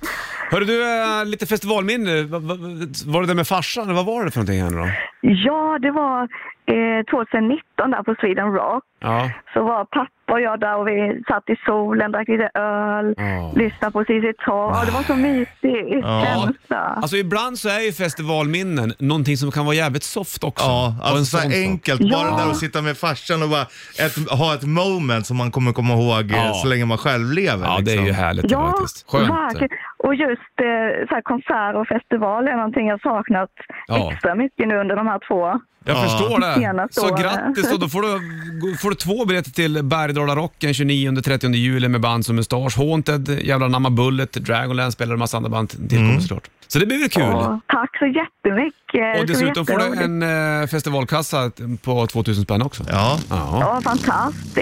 [SPEAKER 2] Hörru du, eh, lite festivalminne. Va- va- Var det där med farsan? Vad var det för någonting här nu då?
[SPEAKER 5] Ja, det var eh, 2019 där på Sweden Rock.
[SPEAKER 2] Ja.
[SPEAKER 5] Så var pappa och jag där och vi satt i solen, drack lite öl,
[SPEAKER 2] Ja. Ah.
[SPEAKER 5] lyssnade på CC Top. Det var så mysigt.
[SPEAKER 3] Ja.
[SPEAKER 5] Känsla.
[SPEAKER 2] Alltså ibland så är ju festivalminnen någonting som kan vara jävligt soft också.
[SPEAKER 3] Ja,
[SPEAKER 2] Och
[SPEAKER 3] alltså så
[SPEAKER 2] sån
[SPEAKER 3] här
[SPEAKER 2] sak.
[SPEAKER 3] enkelt. Bara det där att sitta med farsan och bara ett, ha ett moment som man kommer komma ihåg eh,
[SPEAKER 2] Ja.
[SPEAKER 3] så länge man själv lever.
[SPEAKER 2] Ja, det är
[SPEAKER 3] liksom.
[SPEAKER 2] ju härligt
[SPEAKER 5] Ja,
[SPEAKER 2] faktiskt. Skönt.
[SPEAKER 5] verkligen. Och just eh, så här, konserter och festivaler är någonting jag saknat
[SPEAKER 2] Ja.
[SPEAKER 5] extra mycket nu under de här två.
[SPEAKER 2] Jag
[SPEAKER 3] Ja.
[SPEAKER 2] förstår det.
[SPEAKER 5] Senaste
[SPEAKER 2] Så
[SPEAKER 5] året.
[SPEAKER 2] grattis då. Då får du, får du två biljetter till Bergdalarocken 29-30 juli med band som Mustasch, Haunted, Jävla Namma Bullet, Dragonland spelar och massa andra band
[SPEAKER 3] Mm.
[SPEAKER 2] tillkommer såklart. Så det blir väl kul.
[SPEAKER 5] Ja, tack så jättemycket.
[SPEAKER 2] Och
[SPEAKER 5] Det ska bli
[SPEAKER 2] dessutom får du
[SPEAKER 5] jätteroligt.
[SPEAKER 2] en eh, festivalkassa på 2000 spänn också.
[SPEAKER 3] Ja.
[SPEAKER 2] Ja,
[SPEAKER 5] Ja, fantastiskt.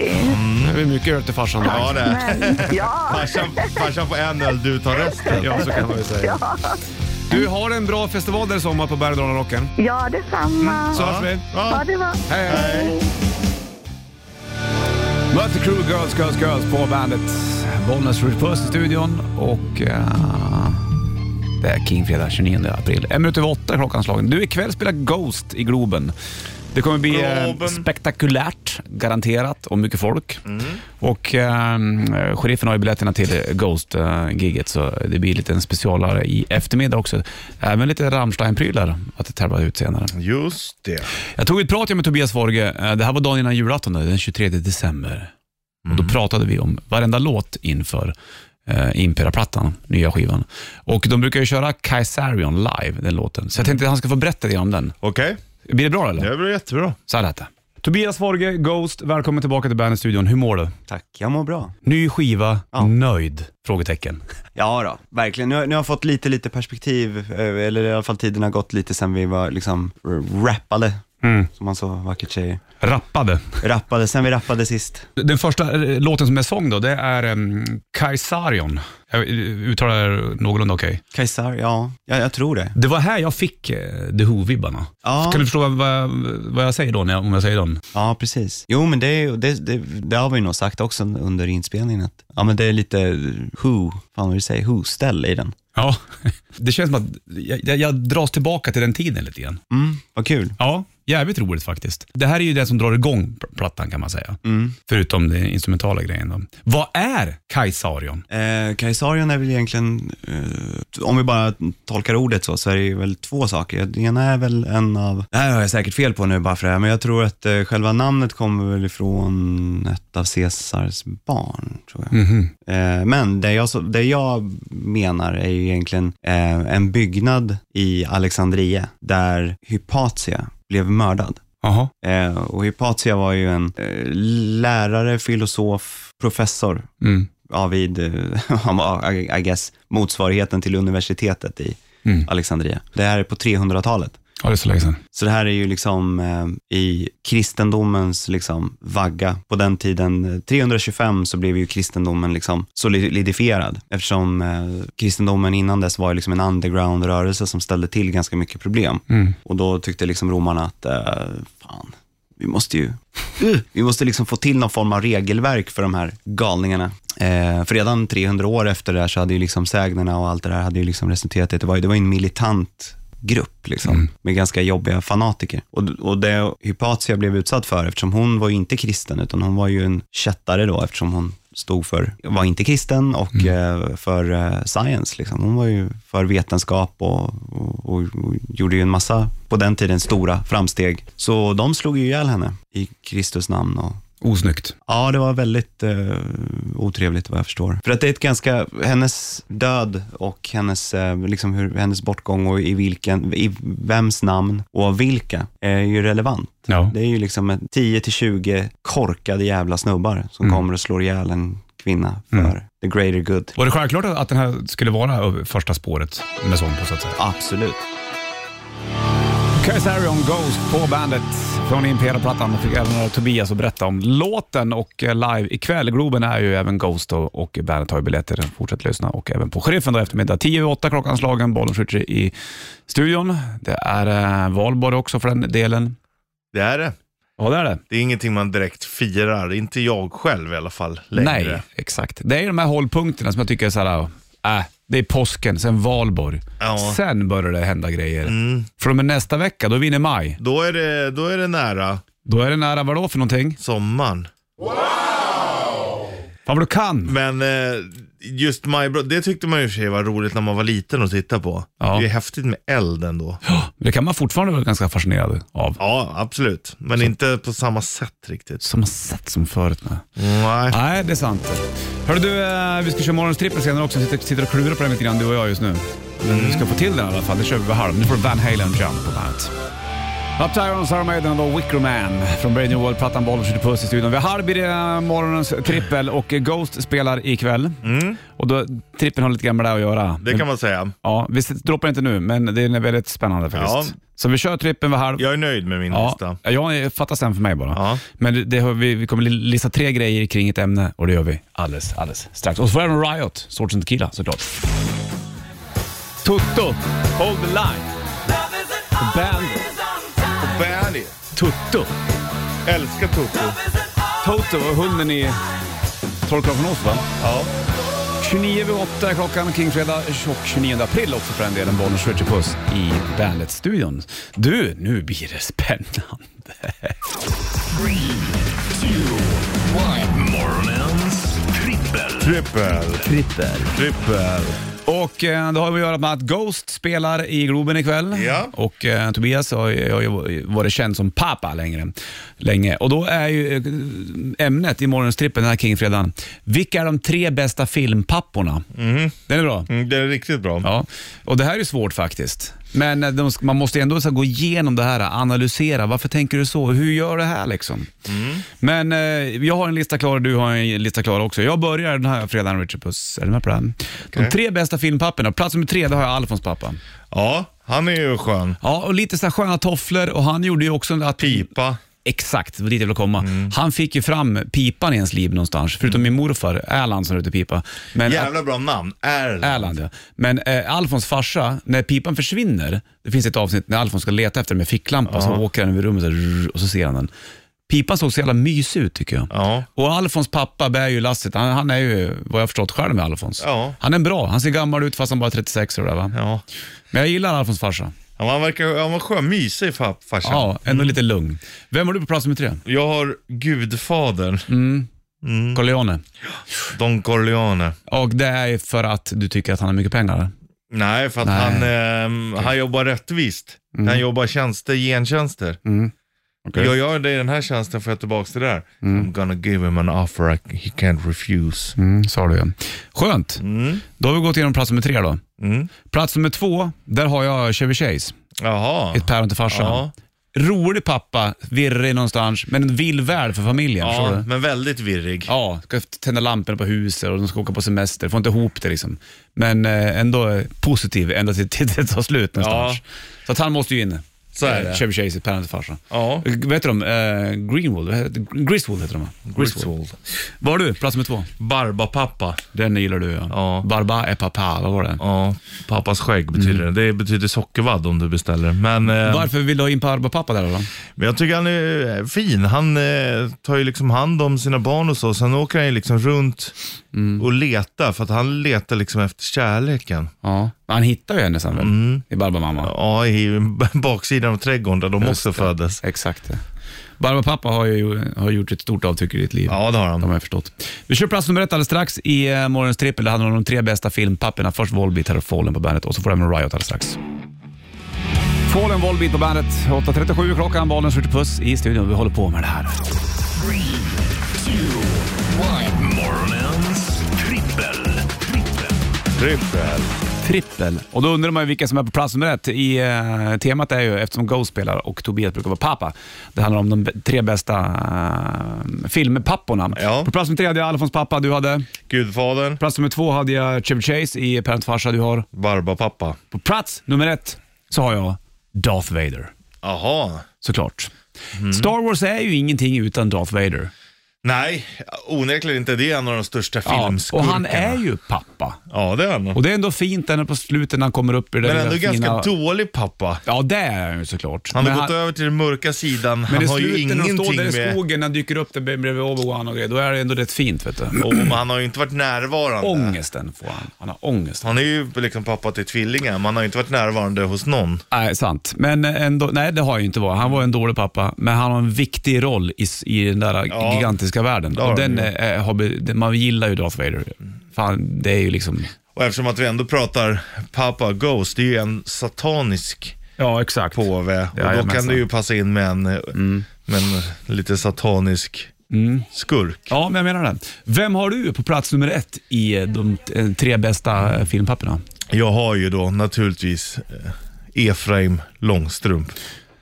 [SPEAKER 2] det blir mycket öl till farsan. då.
[SPEAKER 3] Ja, det är.
[SPEAKER 5] Men, ja,
[SPEAKER 3] Farsan, farsan får en öl, du tar resten.
[SPEAKER 2] ja, så kan man ju säga. Du, har en bra festival där i sommar på Bergdalarocken.
[SPEAKER 5] ja, detsamma.
[SPEAKER 2] Så hörs vi.
[SPEAKER 3] Ja.
[SPEAKER 5] Ha det bra.
[SPEAKER 2] Hej, hej. Möter Crew Girls Girls Girls på bandet. Bollnäs Ritch Puss i studion och eh, det är Kingfredag 29 april. En minut över åtta är klockan slagen. Du, ikväll spelar Ghost i Globen. Det kommer bli eh,
[SPEAKER 3] Globen.
[SPEAKER 2] spektakulärt, garanterat, och mycket folk. Och eh, sheriffen har ju biljetterna till Ghost-giget, så det blir lite en specialare i eftermiddag också. Även lite Rammstein-prylar att tävla ut senare.
[SPEAKER 3] Just det.
[SPEAKER 2] Jag tog ett prat med Tobias Forge, eh, det här var dagen innan julafton, då, den 23 december. Och då pratade vi om varenda låt inför eh, Impera-plattan, nya skivan. Och de brukar ju köra Kaisarion live, den låten. Så jag tänkte att han ska få berätta lite om den.
[SPEAKER 3] Okej,
[SPEAKER 2] Blir det bra eller?
[SPEAKER 3] det blir jättebra.
[SPEAKER 2] Så här lät det. Tobias Forge, Ghost, välkommen tillbaka till Bandet-studion. Hur mår du?
[SPEAKER 6] Tack, jag mår bra.
[SPEAKER 2] Ny skiva,
[SPEAKER 6] Ja.
[SPEAKER 2] nöjd? Frågetecken.
[SPEAKER 6] Ja då, verkligen. Nu, har- nu har jag fått lite, lite perspektiv, eh, eller i alla fall tiden har gått lite sen vi var liksom r- rappade som man så vackert säger.
[SPEAKER 2] Rappade.
[SPEAKER 6] Rappade, sen vi rappade sist.
[SPEAKER 2] Den första eh, låten som är sång då, det är um, Kaisarion. Jag eh, uttalar det någorlunda okej.
[SPEAKER 6] Kaisar, ja, jag, jag tror det.
[SPEAKER 2] Det var här jag fick eh, The Who-vibbarna.
[SPEAKER 6] Ja.
[SPEAKER 2] Kan du förstå vad, vad, vad jag säger då, när jag, om jag säger dem?
[SPEAKER 6] Ja, precis. Jo, men det, är ju- det, det, det har vi nog sagt också under inspelningen. Att, ja, men det är lite who, fan vad du säger, who-ställ i den.
[SPEAKER 2] Ja. Det känns som att jag, jag, jag dras tillbaka till den tiden lite grann.
[SPEAKER 6] Mm, vad kul.
[SPEAKER 2] Ja, jävligt roligt faktiskt. Det här är ju det som drar igång pl- plattan kan man säga.
[SPEAKER 6] Mm.
[SPEAKER 2] Förutom den instrumentala grejen. Då. Vad är Kaisarion?
[SPEAKER 6] Eh, Kaisarion är väl egentligen, eh, om vi bara tolkar ordet så, så är det ju väl två saker. Det ena är väl en av, det här har jag säkert fel på nu bara för det här, men jag tror att eh, själva namnet kommer väl ifrån ett av Caesars barn, tror jag. Eh, men det jag, så- det jag menar är ju egentligen eh, en byggnad i Alexandria där Hypatia blev mördad.
[SPEAKER 2] Jaha.
[SPEAKER 6] Eh, och Hypatia var ju en eh, lärare, filosof, professor
[SPEAKER 2] Mm.
[SPEAKER 6] ja, vid, eh, han var, I I guess, motsvarigheten till universitetet i
[SPEAKER 2] Mm.
[SPEAKER 6] Alexandria. Det här är på 300-talet.
[SPEAKER 2] Ja, det är så länge sedan.
[SPEAKER 6] Så det här är ju liksom eh, i kristendomens liksom vagga. På den tiden, eh, 325, så blev ju kristendomen liksom solidifierad. Eftersom eh, kristendomen innan dess var ju liksom en underground-rörelse som ställde till ganska mycket problem. Och då tyckte liksom romarna att, eh, fan, vi måste ju vi måste liksom få till någon form av regelverk för de här galningarna. Eh, för redan 300 år efter det här så hade ju liksom sägnerna och allt det där hade ju liksom resulterat i att det var, ju- det var ju en militant grupp liksom, med ganska jobbiga fanatiker. Och, och det Hypatia blev utsatt för, eftersom hon var ju inte kristen, utan hon var ju en kättare då, eftersom hon stod för, var inte kristen och eh, för eh, science. Liksom. Hon var ju för vetenskap och, och, och, och gjorde ju en massa, på den tiden, stora framsteg. Så de slog ju ihjäl henne i Kristus namn. Och,
[SPEAKER 2] Osnyggt.
[SPEAKER 6] ja, det var väldigt eh, otrevligt vad jag förstår. För att det är ett ganska, hennes död och hennes, eh, liksom hur, hennes bortgång och i, vilken, i vems namn och vilka är ju relevant.
[SPEAKER 2] Ja.
[SPEAKER 6] Det är ju liksom en 10-20 korkade jävla snubbar som kommer och slår ihjäl en kvinna för the greater good.
[SPEAKER 2] Var det självklart att att den här skulle vara första spåret med sång på så att säga?
[SPEAKER 6] Absolut.
[SPEAKER 2] Kaisarion Ghost på bandet från Impera-plattan. Fick även höra Tobias att berätta om låten och eh, live ikväll. Globen är ju även Ghost och, och bandet har ju biljetter. Fortsätt lyssna och även på Sheriffen då eftermiddag. 10 över 8 klockan slagen. Bollen skjuter i studion. Det är eh, valborg också för den delen.
[SPEAKER 3] Det är det.
[SPEAKER 2] Ja, det är det.
[SPEAKER 3] Det är ingenting man direkt firar. Inte jag själv i alla fall längre.
[SPEAKER 2] Nej, exakt. Det är de här hållpunkterna som jag tycker är så här, äh, det är påsken, sen valborg.
[SPEAKER 3] Ja.
[SPEAKER 2] Sen börjar det hända grejer.
[SPEAKER 3] Mm.
[SPEAKER 2] Från och med nästa vecka, då är vi inne i maj.
[SPEAKER 3] Då är, det, då är det nära
[SPEAKER 2] Då är det nära vadå för någonting?
[SPEAKER 3] sommaren.
[SPEAKER 2] Fan vad du kan!
[SPEAKER 3] Men eh, just majbrott, det tyckte man ju i och för sig var roligt när man var liten att titta på.
[SPEAKER 2] Ja.
[SPEAKER 3] Det är häftigt med eld ändå.
[SPEAKER 2] Det kan man fortfarande vara ganska fascinerad av.
[SPEAKER 3] Ja, absolut. Men inte på samma sätt riktigt.
[SPEAKER 2] Som man sett som förut med.
[SPEAKER 3] Nej.
[SPEAKER 2] Nej, det är sant. Hörru du, eh, vi ska köra morgonstrippen senare också. Sitter, sitter och klurar på den lite grann du och jag just nu. Men vi ska få till den i alla fall. Det kör vi vid halv. Nu får du Van Halen Jump på bandet. Up Tyrons Iron Maiden och Wicker Man från Brady New World-plattan Bollers skjuter puss i studion. Vi har halv i det, morgonens trippel och Ghost spelar ikväll. Och då, trippen har lite grann med det här att göra.
[SPEAKER 3] Mm. Det kan man säga.
[SPEAKER 2] Ja, vi droppar inte nu, men det är väldigt spännande faktiskt.
[SPEAKER 3] Ja.
[SPEAKER 2] Så vi kör trippen vid halv.
[SPEAKER 3] Jag är nöjd med min lista.
[SPEAKER 2] Ja, jag fattas den för mig bara.
[SPEAKER 3] Ja.
[SPEAKER 2] Men det- det har vi, vi kommer li- lista tre grejer kring ett ämne och det gör vi alldeles, alldeles strax. Och så får jag även Riot, Swords and Tequila såklart. Tutto, Hold the Line, Bandit,
[SPEAKER 3] Fanny.
[SPEAKER 2] Tutto.
[SPEAKER 3] Älskar Toto.
[SPEAKER 2] Toto och hunden i Trollkarlen från Oz va?
[SPEAKER 3] Ja.
[SPEAKER 2] 29 över 8 är klockan, Kingfredag och 29 april också för den delen. Bonus Richard Puss i Bandit-studion. Du, nu blir det spännande.
[SPEAKER 1] Morgonens trippel.
[SPEAKER 3] Trippel.
[SPEAKER 2] Trippel.
[SPEAKER 3] Trippel.
[SPEAKER 2] Och eh, det har att göra med att Ghost spelar i Globen ikväll.
[SPEAKER 3] Ja.
[SPEAKER 2] Och eh, Tobias har ju, har ju varit känd som pappa längre, länge. Och då är ju eh, ämnet i morgonens trippel, den här Kingfredagen, vilka är de tre bästa filmpapporna? Den är bra.
[SPEAKER 3] Mm, det är riktigt bra.
[SPEAKER 2] Ja. Och det här är ju svårt faktiskt. Men eh, de, ska- man måste ändå så här, gå igenom det här, analysera. Varför tänker du så? Hur gör det här liksom? Men eh, jag har en lista klar och du har en lista klar också. Jag börjar den här fredagen, Richard Puss. Är du med på det här? De tre bästa filmpapperna. Plats nummer tre, det har jag Alfons pappa.
[SPEAKER 3] Ja. Han är ju skön.
[SPEAKER 2] Ja, och lite så här sköna tofflor och han gjorde ju också att...
[SPEAKER 3] Pipa.
[SPEAKER 2] Exakt, det var dit jag ville komma. Han fick ju fram pipan i ens liv någonstans, förutom min morfar Erland som rökte pipa. Men
[SPEAKER 3] Jävla bra namn. Erland.
[SPEAKER 2] Erland ja. Men eh, Alfons farsa, när pipan försvinner, det finns ett avsnitt när Alfons ska leta efter den med ficklampa, så åker han över rummet så här, rrr, och så ser han den. Pipan såg så jävla mysig ut tycker jag.
[SPEAKER 3] Ja.
[SPEAKER 2] Och Alfons pappa bär ju lasset. Han, han är ju, vad jag har förstått själv med Alfons.
[SPEAKER 3] Ja.
[SPEAKER 2] Han är bra. Han ser gammal ut fast han bara är 36 år där, va?
[SPEAKER 3] Ja.
[SPEAKER 2] Men jag gillar Alfons farsa.
[SPEAKER 3] Ja, men Han verkar han var skön. Mysig fa- farsan.
[SPEAKER 2] Ja, ändå
[SPEAKER 3] Mm.
[SPEAKER 2] lite lugn. Vem har du på plats nummer tre?
[SPEAKER 3] Jag har gudfadern.
[SPEAKER 2] Corleone.
[SPEAKER 3] Mm. Don Corleone.
[SPEAKER 2] Och det är för att du tycker att han har mycket pengar? eller?
[SPEAKER 3] Nej, för att
[SPEAKER 2] Nej. Mm.
[SPEAKER 3] Han, ehm, han jobbar rättvist. Han jobbar tjänster, gentjänster.
[SPEAKER 2] Okej.
[SPEAKER 3] Jag gör dig den här tjänsten för att tillbaka till det där. I'm gonna give him an offer I, he can't refuse.
[SPEAKER 2] Mm, sa du ju. Skönt. Då har vi gått igenom plats nummer tre då.
[SPEAKER 3] Mm.
[SPEAKER 2] Plats nummer två, där har jag Chevy Chase.
[SPEAKER 3] Jaha.
[SPEAKER 2] Ett päron till farsan.
[SPEAKER 3] Ja.
[SPEAKER 2] Rolig pappa, virrig någonstans, men vill väl för familjen. Förstår
[SPEAKER 3] Ja,
[SPEAKER 2] du?
[SPEAKER 3] men väldigt virrig.
[SPEAKER 2] Ja, ska tända lamporna på huset och de ska åka på semester. Får inte ihop det liksom. Men eh, ändå positiv ända till, till det tar slut någonstans. Så att han måste ju in. Eh,
[SPEAKER 3] Så är det.
[SPEAKER 2] Chevy Chase, ett päron till farsan.
[SPEAKER 3] Ja.
[SPEAKER 2] Eh, Vad heter de? Eh, Greenwood? Vad heter- Griswold heter de va?
[SPEAKER 3] Griswold.
[SPEAKER 2] Vad har du? Plats nummer två?
[SPEAKER 3] Barbapappa.
[SPEAKER 2] Den gillar du ja.
[SPEAKER 3] Ja.
[SPEAKER 2] Barba är pappa, vad var det?
[SPEAKER 3] Ja, pappas skägg betyder
[SPEAKER 2] Mm.
[SPEAKER 3] det. Det betyder sockervadd om du beställer. Men, eh,
[SPEAKER 2] Varför vill du ha in Barba pappa där då?
[SPEAKER 3] men jag tycker han är fin. Han eh, tar ju liksom hand om sina barn och så. Sen åker han ju liksom runt
[SPEAKER 2] Mm.
[SPEAKER 3] och letar. För att han letar liksom efter kärleken.
[SPEAKER 2] Ja. Han hittar ju henne sen väl? I Barba mamma.
[SPEAKER 3] Mm. Ja, i baksidan av trädgården där de också föddes.
[SPEAKER 2] Exakt. Barba pappa har ju har gjort ett stort avtryck i ditt liv.
[SPEAKER 3] Ja, det har
[SPEAKER 2] De har
[SPEAKER 3] han.
[SPEAKER 2] jag förstått. Vi kör plats nummer ett alldeles strax i eh, morgonens trippel. Det handlar om de tre bästa filmpapperna. Först Volbeat, här och Fallen på bandet och så får du även Riot alldeles strax. Fallen, Volbeat på bandet. 8.37 klockan, Valens skjuter puss i studion. Vi håller på med det här.
[SPEAKER 1] Morgonens trippel. trippel.
[SPEAKER 3] Trippel.
[SPEAKER 2] Trippel. Och då undrar man ju vilka som är på plats nummer ett. I, eh, temat är ju, eftersom Ghost spelar och Tobias brukar vara pappa, det handlar om de b- tre bästa eh, filmpapporna.
[SPEAKER 3] Ja.
[SPEAKER 2] På plats nummer tre hade jag Alfons pappa, du hade.
[SPEAKER 3] Gudfadern.
[SPEAKER 2] Plats nummer två hade jag Chevy Chase i Parent farsa, du har.
[SPEAKER 3] Barbapappa.
[SPEAKER 2] På plats nummer ett så har jag Darth Vader,
[SPEAKER 3] Jaha.
[SPEAKER 2] såklart.
[SPEAKER 3] Mm.
[SPEAKER 2] Star Wars är ju ingenting utan Darth Vader.
[SPEAKER 3] Nej, onekligen inte. Det är en av de största
[SPEAKER 2] Ja, och
[SPEAKER 3] filmskurkarna.
[SPEAKER 2] han är ju pappa.
[SPEAKER 3] Ja, det är han.
[SPEAKER 2] Och det är ändå fint när på slutet när han kommer upp i det
[SPEAKER 3] Men
[SPEAKER 2] där
[SPEAKER 3] ändå
[SPEAKER 2] lilla
[SPEAKER 3] ganska
[SPEAKER 2] fina-
[SPEAKER 3] dålig pappa.
[SPEAKER 2] Ja, det är han ju såklart.
[SPEAKER 3] Han har
[SPEAKER 2] Men
[SPEAKER 3] gått över till den mörka sidan.
[SPEAKER 2] Men
[SPEAKER 3] Han
[SPEAKER 2] i
[SPEAKER 3] har ju
[SPEAKER 2] slutet när de står
[SPEAKER 3] ingenting
[SPEAKER 2] där i
[SPEAKER 3] med...
[SPEAKER 2] skogen, när han dyker upp där bredvid Obi-Wan och grejer, då är det ändå rätt fint. Vet du.
[SPEAKER 3] Och han har ju inte varit närvarande.
[SPEAKER 2] Ångesten får han. Han har ångest.
[SPEAKER 3] Han är ju liksom pappa till tvillingar, men han har ju inte varit närvarande hos någon.
[SPEAKER 2] Nej, sant. Men eh, ändå, nej, det har jag ju inte varit. Han var en dålig pappa, men han har en viktig roll i, s- i den där
[SPEAKER 3] Ja,
[SPEAKER 2] gigantiska världen.
[SPEAKER 3] det har
[SPEAKER 2] Och
[SPEAKER 3] han
[SPEAKER 2] den,
[SPEAKER 3] ju.
[SPEAKER 2] eh, har, be- den- man gillar ju Darth Vader. Fan, det är ju liksom...
[SPEAKER 3] Och eftersom att vi ändå pratar pappa Ghost, det är ju en satanisk
[SPEAKER 2] Ja, exakt.
[SPEAKER 3] påve. Och då
[SPEAKER 2] Jajamensan. Mm.
[SPEAKER 3] kan det ju passa in med en, med en lite satanisk skurk.
[SPEAKER 2] Ja, men jag menar det. Vem har du på plats nummer ett i eh, de eh, tre bästa eh, filmpapperna?
[SPEAKER 3] Jag har ju då naturligtvis eh, Efraim Långstrump.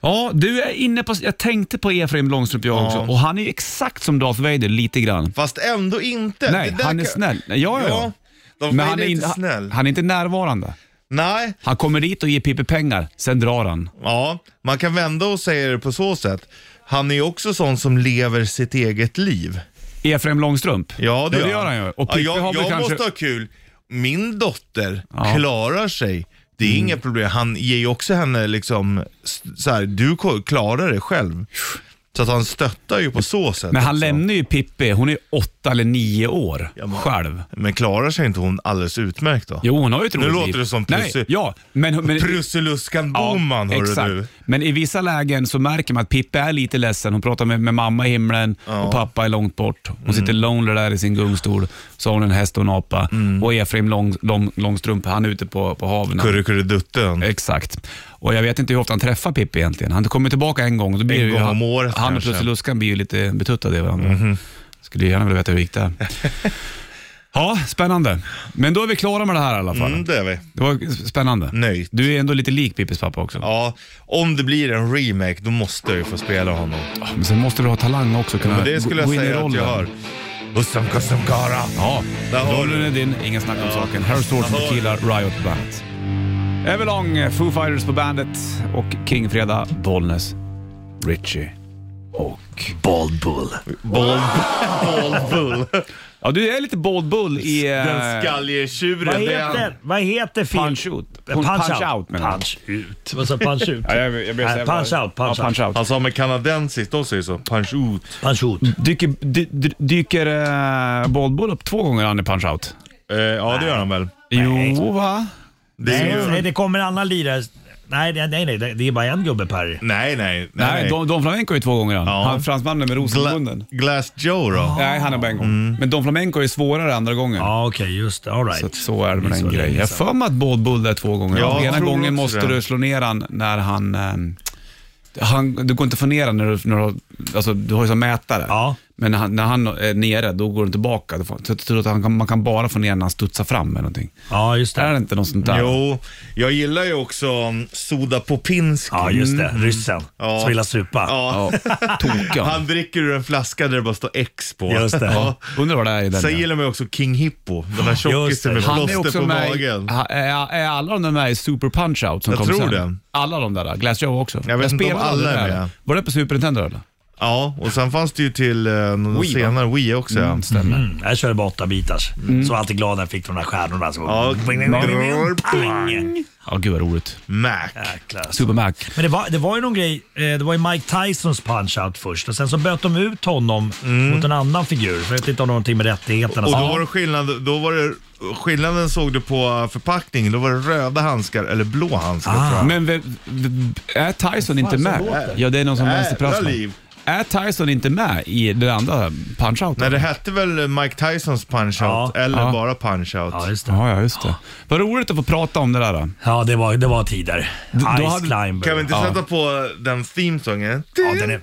[SPEAKER 2] Ja, du är inne på... Jag tänkte på Efraim Långstrump jag
[SPEAKER 3] Ja.
[SPEAKER 2] också. Och han är ju exakt som Darth Vader, lite grann.
[SPEAKER 3] Fast ändå inte.
[SPEAKER 2] Nej,
[SPEAKER 3] Det där
[SPEAKER 2] han är
[SPEAKER 3] kan-
[SPEAKER 2] snäll. Ja, ja, ja.
[SPEAKER 3] de
[SPEAKER 2] Men han är,
[SPEAKER 3] är inte
[SPEAKER 2] in,
[SPEAKER 3] snäll.
[SPEAKER 2] han är inte närvarande.
[SPEAKER 3] Nej,
[SPEAKER 2] Han kommer dit och ger Pippi pengar, sen drar han.
[SPEAKER 3] Ja, man kan vända och säga det på så sätt. Han är ju också sån som lever sitt eget liv.
[SPEAKER 2] Efraim Långstrump?
[SPEAKER 3] Ja, det,
[SPEAKER 2] ja, det gör han ju. Och Pippi
[SPEAKER 3] ja,
[SPEAKER 2] har
[SPEAKER 3] jag
[SPEAKER 2] väl
[SPEAKER 3] jag
[SPEAKER 2] kanske...
[SPEAKER 3] måste ha kul. Min dotter
[SPEAKER 2] Ja. Mm.
[SPEAKER 3] klarar sig. Det är inga problem. Han ger ju också henne liksom, s- så här, du ko- klarar dig själv. Så att han stöttar ju på så sätt.
[SPEAKER 2] Men han
[SPEAKER 3] också.
[SPEAKER 2] lämnar ju Pippi, hon är åtta eller nio år
[SPEAKER 3] men-
[SPEAKER 2] själv.
[SPEAKER 3] Men klarar sig inte hon alldeles utmärkt då?
[SPEAKER 2] Jo, hon har ju ett
[SPEAKER 3] Nu
[SPEAKER 2] roligt
[SPEAKER 3] låter
[SPEAKER 2] liv.
[SPEAKER 3] det som
[SPEAKER 2] Nej,
[SPEAKER 3] Prussi-
[SPEAKER 2] ja, men, men,
[SPEAKER 3] Prusseluskan Boman, hörru
[SPEAKER 2] exakt.
[SPEAKER 3] du.
[SPEAKER 2] Men i vissa lägen så märker man att Pippi är lite ledsen. Hon pratar med, med mamma i himlen och pappa är långt bort. Hon
[SPEAKER 3] Mm.
[SPEAKER 2] sitter lonely där i sin gungstol. Så har hon en häst och en apa.
[SPEAKER 3] Mm.
[SPEAKER 2] Och Efraim lång, lång, Långstrump, han är ute på, på haven.
[SPEAKER 3] Kurrekurredutten.
[SPEAKER 2] Exakt. Och jag vet inte hur ofta han träffar Pippi egentligen. Han kommer tillbaka en gång. och Då blir
[SPEAKER 3] En
[SPEAKER 2] det ju,
[SPEAKER 3] gång om året
[SPEAKER 2] Han och
[SPEAKER 3] kanske. Mhm.
[SPEAKER 2] Plusseluskan blir ju lite betuttade i varandra. Skulle ju gärna vilja veta hur det gick där. ja, spännande. Men då är vi klara med det här i alla fall.
[SPEAKER 3] Mm, det är vi.
[SPEAKER 2] Det var spännande.
[SPEAKER 3] Nöjt.
[SPEAKER 2] Du är ändå lite lik Pippis pappa också.
[SPEAKER 3] Ja, om det blir en remake då måste jag ju få spela honom.
[SPEAKER 2] Men sen måste du ha talang också kunna
[SPEAKER 3] Men det skulle jag
[SPEAKER 2] gå in i
[SPEAKER 3] säga att
[SPEAKER 2] rollen.
[SPEAKER 3] jag har. Ussam kassam kara.
[SPEAKER 2] Ja,
[SPEAKER 3] Där har
[SPEAKER 2] rollen
[SPEAKER 3] du.
[SPEAKER 2] är din, inga snack om saken. Harry Storton
[SPEAKER 3] Där har
[SPEAKER 2] och
[SPEAKER 3] du.
[SPEAKER 2] killar Riot Bandet. Everlong, Foo Fighters på bandet och Kingfredag, Bollnäs, Richie och...
[SPEAKER 1] Bald Bull.
[SPEAKER 3] Bold, bold bull.
[SPEAKER 2] Ja, du är lite bold bull i... eh,
[SPEAKER 3] Den skallige tjuren.
[SPEAKER 7] Vad
[SPEAKER 3] det är han.
[SPEAKER 7] heter, vad heter film?
[SPEAKER 2] Punch out.
[SPEAKER 7] Eh, Punch,
[SPEAKER 2] Punch
[SPEAKER 7] out.
[SPEAKER 2] out, menar jag.
[SPEAKER 7] punch ut. Vad sa punch ut?
[SPEAKER 2] Ja, jag, jag blev så
[SPEAKER 7] Nej,
[SPEAKER 2] jävla-
[SPEAKER 7] punch out, punch
[SPEAKER 2] ja, punch out.
[SPEAKER 3] Han sa med kanadensiskt, de säger så. Punch out.
[SPEAKER 7] Punch ut.
[SPEAKER 2] Dyker, dy, dy, dyker eh, Bold Bull upp två gånger han i Punch Out?
[SPEAKER 3] Eh, ja, det gör han väl.
[SPEAKER 2] Jo, va?
[SPEAKER 3] Det är
[SPEAKER 7] Nej,
[SPEAKER 3] ju-
[SPEAKER 7] nej, det kommer en annan lirare. Nej, nej, nej, nej, det är bara en gubbe Perry.
[SPEAKER 3] Nej, nej.
[SPEAKER 2] Nej,
[SPEAKER 3] nej.
[SPEAKER 2] Don, Don Flamenco är två gånger han.
[SPEAKER 3] Ja.
[SPEAKER 2] han fransmannen med rosen i munnen.
[SPEAKER 3] Gla- Glass Joe då?
[SPEAKER 2] Nej, han är bara en gång.
[SPEAKER 3] Mm.
[SPEAKER 2] Men Don Flamenco är svårare andra gången.
[SPEAKER 7] Ja, okej, just det. All right.
[SPEAKER 2] Så, att så är det med
[SPEAKER 7] Så
[SPEAKER 2] den
[SPEAKER 7] det är
[SPEAKER 2] grejen. Jag har
[SPEAKER 7] sant.
[SPEAKER 2] för mig att Bold Bull är två gånger.
[SPEAKER 3] Ja, jag
[SPEAKER 2] Ena
[SPEAKER 3] tror
[SPEAKER 2] gången
[SPEAKER 3] också
[SPEAKER 2] måste
[SPEAKER 3] det.
[SPEAKER 2] du slå ner han när han... ehm, han du går inte att få ner han när du, när du, har- alltså, du har ju som mätare.
[SPEAKER 7] Ja.
[SPEAKER 2] Men när han, när han är nere, då går den tillbaka. Du får- Så jag tror att han kan, man kan bara få ner när han studsar fram eller någonting.
[SPEAKER 7] Ja, just
[SPEAKER 2] Är det
[SPEAKER 7] det.
[SPEAKER 2] inte något sånt där?
[SPEAKER 3] Jo, jag gillar ju också mm, Soda Popinski.
[SPEAKER 7] Ja, just det. Ryssen
[SPEAKER 3] Ja.
[SPEAKER 7] som gillar supa.
[SPEAKER 3] Ja.
[SPEAKER 2] Tokiga.
[SPEAKER 3] Han dricker ur en flaska där det bara står X på.
[SPEAKER 7] Just det.
[SPEAKER 3] Ja.
[SPEAKER 2] Undrar vad det är i den.
[SPEAKER 3] Sen
[SPEAKER 2] ja.
[SPEAKER 3] gillar man ju också King Hippo. Den där
[SPEAKER 7] Just det.
[SPEAKER 3] tjockisen med
[SPEAKER 2] Han är
[SPEAKER 3] plåster
[SPEAKER 2] också
[SPEAKER 3] på
[SPEAKER 2] med i,
[SPEAKER 3] magen.
[SPEAKER 2] ha- är, är alla de där med i Super Punch-Out som
[SPEAKER 3] Jag
[SPEAKER 2] kom
[SPEAKER 3] tror
[SPEAKER 2] sen?
[SPEAKER 3] det.
[SPEAKER 2] Alla de där, Glass Joe också.
[SPEAKER 3] Jag vet inte om
[SPEAKER 2] spelade
[SPEAKER 3] alla
[SPEAKER 2] aldrig
[SPEAKER 3] är
[SPEAKER 2] det där.
[SPEAKER 3] med.
[SPEAKER 2] Var det på Super Nintendo eller?
[SPEAKER 3] Ja, och sen fanns det ju till eh, någon
[SPEAKER 2] Wii, va?
[SPEAKER 3] senare Wii också. Ja.
[SPEAKER 2] Stämmer.
[SPEAKER 7] Mm, jag körde bara åtta bitars. Så var alltid glad när jag fick de där stjärnorna. Så...
[SPEAKER 3] Ja.
[SPEAKER 7] Pang!
[SPEAKER 2] Ja, gud vad roligt.
[SPEAKER 3] Mac.
[SPEAKER 7] Jäklar.
[SPEAKER 3] Alltså.
[SPEAKER 2] Super Mac.
[SPEAKER 7] Men det var, det var ju någon grej, eh, det var ju Mike Tysons punch-out först och sen så böt de ut honom mot en annan figur. Så jag vet inte om det har någonting med rättigheterna
[SPEAKER 3] Och då
[SPEAKER 7] att
[SPEAKER 3] var, det skillnad, då var det skillnaden såg du på förpackningen. Då var det röda handskar eller blå handskar
[SPEAKER 7] Ah.
[SPEAKER 3] tror jag.
[SPEAKER 2] Men vem- v- är Tyson inte med? Ja, det är någon som
[SPEAKER 3] Jävla
[SPEAKER 2] vänsterprasslar.
[SPEAKER 3] liv.
[SPEAKER 2] Är Tyson inte med i det andra Punch-Out?
[SPEAKER 3] Nej, det hette väl Mike Tysons punch-out
[SPEAKER 7] Ja.
[SPEAKER 3] eller
[SPEAKER 2] Ja.
[SPEAKER 3] bara punch-out.
[SPEAKER 7] Ja, just det.
[SPEAKER 2] Ja, ja, just det. Vad roligt att få prata om det där. Då.
[SPEAKER 7] Ja, det var, det var tider. Ice
[SPEAKER 2] då hade-
[SPEAKER 7] Climber.
[SPEAKER 3] Kan vi inte sätta på uh, den themesången?
[SPEAKER 7] Ja, den är-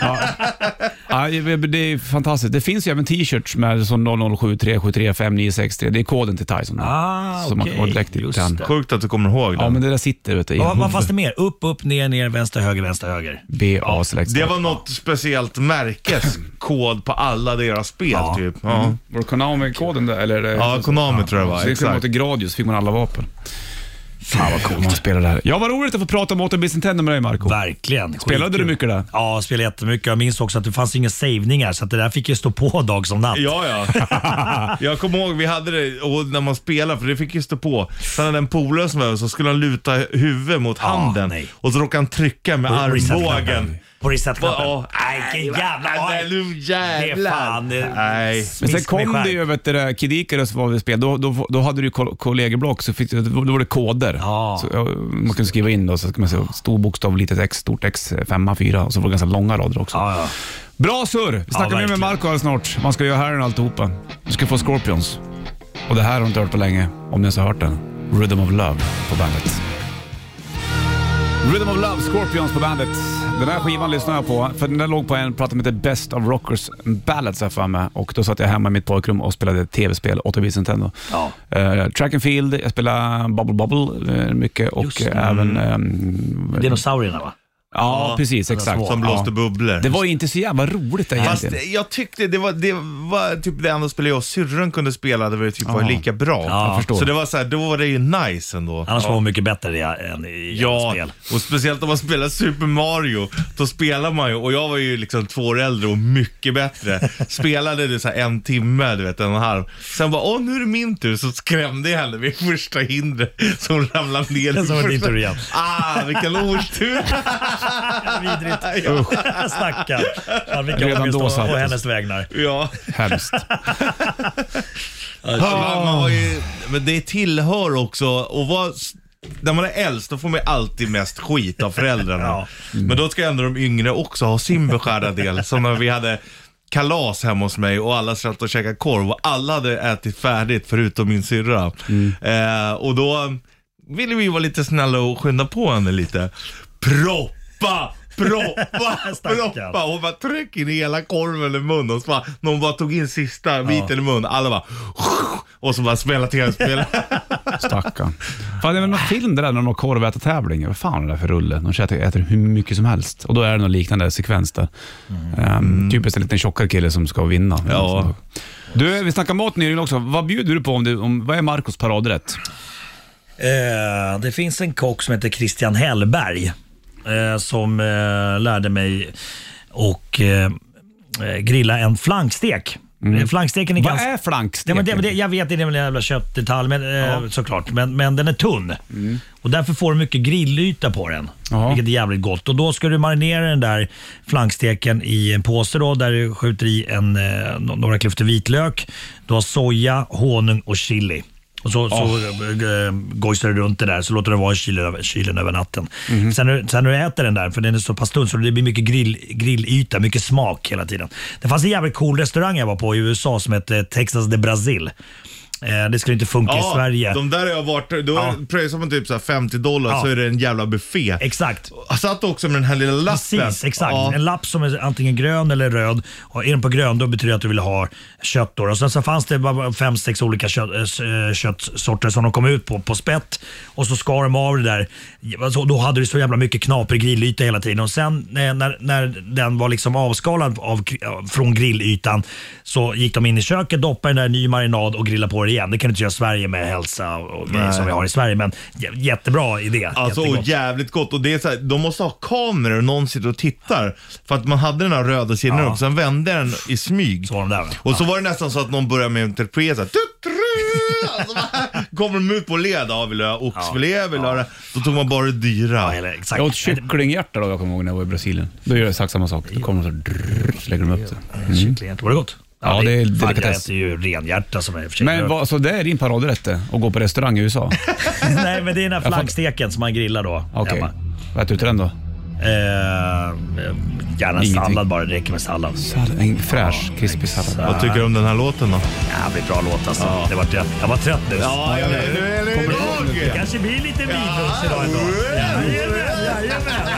[SPEAKER 2] Ja, det är fantastiskt. Det finns ju även t-shirts med sån 0073735963. Det är koden till Tyson. då.
[SPEAKER 7] Ah,
[SPEAKER 2] Som man
[SPEAKER 7] okej.
[SPEAKER 2] kan gå direkt till
[SPEAKER 7] Just
[SPEAKER 2] han.
[SPEAKER 7] det.
[SPEAKER 3] Sjukt att du kommer ihåg den.
[SPEAKER 2] Ja, men det där sitter vet du, i
[SPEAKER 7] Vad vad fanns
[SPEAKER 2] huvudet.
[SPEAKER 7] det mer? Upp, upp, ner, ner, vänster, höger, vänster, höger.
[SPEAKER 2] BA Select.
[SPEAKER 3] Det var något speciellt märkes kod på alla deras spel
[SPEAKER 7] Ja.
[SPEAKER 3] typ. Ja,
[SPEAKER 2] Var det Konami-koden där? Eller,
[SPEAKER 3] ja Konami tror jag
[SPEAKER 2] Så
[SPEAKER 3] var.
[SPEAKER 2] gick man
[SPEAKER 3] Exakt.
[SPEAKER 2] till Gradius fick man alla vapen. Fan vad coolt. Man spelar det här. Ja, vad roligt att få prata om 8 Bits Nintendo med dig Marco.
[SPEAKER 7] Verkligen.
[SPEAKER 2] Spelade du
[SPEAKER 7] Skitkul.
[SPEAKER 2] mycket där?
[SPEAKER 7] Ja, jag spelade jättemycket. Jag minns också att det fanns inga savningar så att det där fick ju stå på dag som natt.
[SPEAKER 3] Ja, ja. Jag kommer ihåg vi hade det och när man spelade, för det fick ju stå på. Sen hade en polare som var över så skulle han luta huvudet
[SPEAKER 2] Ah,
[SPEAKER 3] mot handen
[SPEAKER 7] nej.
[SPEAKER 3] och så råkade han trycka med
[SPEAKER 7] På
[SPEAKER 3] armbågen.
[SPEAKER 7] reset-knappen. På reset-knappen.
[SPEAKER 3] Ja,
[SPEAKER 7] Nej, vilken jävla...
[SPEAKER 3] Nej, nu jävlar.
[SPEAKER 7] Det är fan, det-
[SPEAKER 3] Nej.
[SPEAKER 2] Men sen
[SPEAKER 7] Miss mig
[SPEAKER 2] kom det
[SPEAKER 7] själv.
[SPEAKER 2] ju vet du, det där Kid Icarus var vi spel. Då, då, då hade du ju kol- kollegieblock, så fick, du- då var det koder.
[SPEAKER 7] Ja.
[SPEAKER 2] Så, ja, man kunde skriva in då, så ska man säga, stor bokstav, litet x, stort x, femma, fyra och så var det ganska långa rader också.
[SPEAKER 7] Ja, ja.
[SPEAKER 2] Bra surr! Vi snackar mer med
[SPEAKER 7] verkligen.
[SPEAKER 2] Marco alldeles snart. Man ska göra här och alltihopa. Du ska få Scorpions. Och det här har du inte hört på länge, om ni ens har hört den. Rhythm of Love på bandet. Rhythm of Love, Scorpions på bandet. Den här skivan lyssnade jag på, för den där låg på en platta som heter Best of Rockers and Ballads har jag för mig. Och då satt jag hemma i mitt pojkrum och spelade tv-spel, 8 bits Nintendo.
[SPEAKER 7] Ja.
[SPEAKER 2] Eh, track and Field, jag spelade Bubble Bubble eh, mycket och
[SPEAKER 7] Just det.
[SPEAKER 2] eh, även... ehm,
[SPEAKER 7] Dinosaurierna va?
[SPEAKER 2] ja, precis,
[SPEAKER 7] de
[SPEAKER 2] exakt.
[SPEAKER 7] små.
[SPEAKER 3] Som
[SPEAKER 2] ja.
[SPEAKER 3] blåste bubblor.
[SPEAKER 2] Det var ju inte så jävla roligt det
[SPEAKER 3] Fast
[SPEAKER 2] egentligen.
[SPEAKER 3] jag tyckte det var, det var typ det enda spelet jag och syrran kunde spela, det var ju typ var
[SPEAKER 2] Ja.
[SPEAKER 3] lika bra.
[SPEAKER 7] Ja.
[SPEAKER 2] förstår.
[SPEAKER 3] Så det var så här, då var det ju nice ändå.
[SPEAKER 7] Annars var hon mycket bättre i, än i
[SPEAKER 3] Ja,
[SPEAKER 7] spel.
[SPEAKER 3] och speciellt om man spelar Super Mario, då spelar man ju, och jag var ju liksom två år äldre och mycket bättre. Spelade det så här en timme, du vet, en och en halv. Sen bara, åh nu är det min tur, så skrämde jag henne vid första hindret som ramlade ner.
[SPEAKER 7] Sen så var det din
[SPEAKER 3] första-
[SPEAKER 7] tur igen.
[SPEAKER 3] Ah, vilken otur.
[SPEAKER 7] Vidrigt. Stackarn. Fan, vilken
[SPEAKER 2] Redan
[SPEAKER 7] ångest
[SPEAKER 2] då
[SPEAKER 7] då,
[SPEAKER 2] sattes.
[SPEAKER 7] på hennes vägnar.
[SPEAKER 3] ja.
[SPEAKER 2] Hemskt.
[SPEAKER 3] Man, man var ju, men det tillhör också att vara... s- När man är äldst då får man ju alltid mest skit av föräldrarna. Mm.
[SPEAKER 7] Ja.
[SPEAKER 3] Men då ska ändå de yngre också ha sin beskärda del. Som när vi hade kalas hemma hos mig och alla satt och käkade korv och alla hade ätit färdigt förutom min syrra. Eh, och då ville vi vara lite snälla och skynda på henne lite. Proppa! Proppa!
[SPEAKER 7] Stackarn.
[SPEAKER 3] proppa! Hon bara tryck in hela korven i munnen och så bara, någon bara tog in sista biten i munnen. Alla bara och så bara spela tv-spel.
[SPEAKER 2] Stackarn. Fan, det är väl någon film det där när de har korvätartävling. Vad fan är det där för rulle? De käkar- äter hur mycket som helst. Och då är det någon liknande sekvens där.
[SPEAKER 7] Mm.
[SPEAKER 2] Ehm, typiskt en liten tjockare kille som ska vinna.
[SPEAKER 3] Ja.
[SPEAKER 2] Du, vi snackade mat nyligen också. Vad bjuder du på? Om du, om, vad är Marcos paradrätt?
[SPEAKER 7] Eh, det finns en kock som heter Christian Hellberg eh, som eh, lärde mig och eh, eh, grilla en flankstek. Eh, Flanksteken är
[SPEAKER 2] Mm. Vad
[SPEAKER 7] ganska...
[SPEAKER 2] är flankstek?
[SPEAKER 7] Nej, men det, men det, jag vet, det är en jävla köttdetalj men, eh, såklart, men, men den är tunn. Och därför får du mycket grillyta på den,
[SPEAKER 2] Mm. Ja.
[SPEAKER 7] vilket är jävligt gott. Och Då ska du marinera den där flanksteken i en påse då, där du skjuter i en, eh, no- några klyftor vitlök. Du har soja, honung och chili. Och så, så eh, gojsar du runt det där, så låter det vara i kylen, över- kylen över natten. Sen, när du- sen när du äter den där, för den är så pass tunn, så det blir mycket grill, grillyta, mycket smak hela tiden. Det fanns en jävligt cool restaurang jag var på i USA som hette Texas de Brasil. Eh, det skulle inte funka i Sverige.
[SPEAKER 3] de där har jag varit. Då
[SPEAKER 7] Ja.
[SPEAKER 3] pröjsar man typ så här 50 dollar
[SPEAKER 7] Ja.
[SPEAKER 3] så är det en jävla buffé.
[SPEAKER 7] Exakt.
[SPEAKER 3] Jag satt också med den här lilla lappen.
[SPEAKER 7] Precis, exakt.
[SPEAKER 3] Ja.
[SPEAKER 7] En lapp som är antingen grön eller röd. Och är den på grön då betyder det att du vill ha kött. Då. Och sen så fanns det bara fem, sex olika kött, eh, s- eh, köttsorter som de kom ut på, på spett. Och så skar de av det där. Alltså, då hade du så jävla mycket knaprig grillyta hela tiden. Och sen eh, när, när den var liksom avskalad av, av- från grillytan så gick de in i köket, doppade den där i ny marinad och grillade på det igen. Det kan du inte göra i Sverige med hälsa och grejer som vi har i Sverige. Men j- jättebra idé.
[SPEAKER 3] Alltså
[SPEAKER 7] Jättegott.
[SPEAKER 3] och jävligt gott. Och det är så här, de måste ha kameror och någon sitter och tittar. För att man hade den här röda sidan
[SPEAKER 7] Ja.
[SPEAKER 3] upp, sen vände den i smyg.
[SPEAKER 7] Så var de där, va?
[SPEAKER 3] och så var det nästan så att någon började med en interpret såhär. Alltså, va? kommer de ut på led, ja vill du ha oxfilé, vill du ha det? Då tog man bara det dyra.
[SPEAKER 7] Ja, eller exakt.
[SPEAKER 2] Jag åt kycklinghjärta då, jag kommer ihåg när jag var i Brasilien. Då gör jag exakt samma sak. Då kommer de så, drrrr, så lägger de upp det. Mm.
[SPEAKER 7] Kycklinghjärta, var det gott?
[SPEAKER 2] Ja, det är
[SPEAKER 7] fan, Jag
[SPEAKER 2] delikatess.
[SPEAKER 7] äter ju renhjärta som är i och för sig
[SPEAKER 2] Men
[SPEAKER 7] rökt.
[SPEAKER 2] vad, så det är din paradrätt det? Att gå på restaurang i USA?
[SPEAKER 7] Nej, men det är den här flanksteken som man grillar då
[SPEAKER 2] Okej.
[SPEAKER 7] hemma.
[SPEAKER 2] Vad äter du till den då?
[SPEAKER 7] Eh, eh, gärna
[SPEAKER 2] Ingenting.
[SPEAKER 7] sallad bara, det räcker med sallad.
[SPEAKER 2] En fräsch, krispig sallad.
[SPEAKER 3] Vad tycker du om den här låten då?
[SPEAKER 7] Jävligt bra låt alltså. Det var, jag, jag var trött nu.
[SPEAKER 3] Ja, jag vet. Nu är det
[SPEAKER 7] Det
[SPEAKER 3] idag.
[SPEAKER 7] kanske blir lite vinblås idag ändå. Jajamän, jajamän.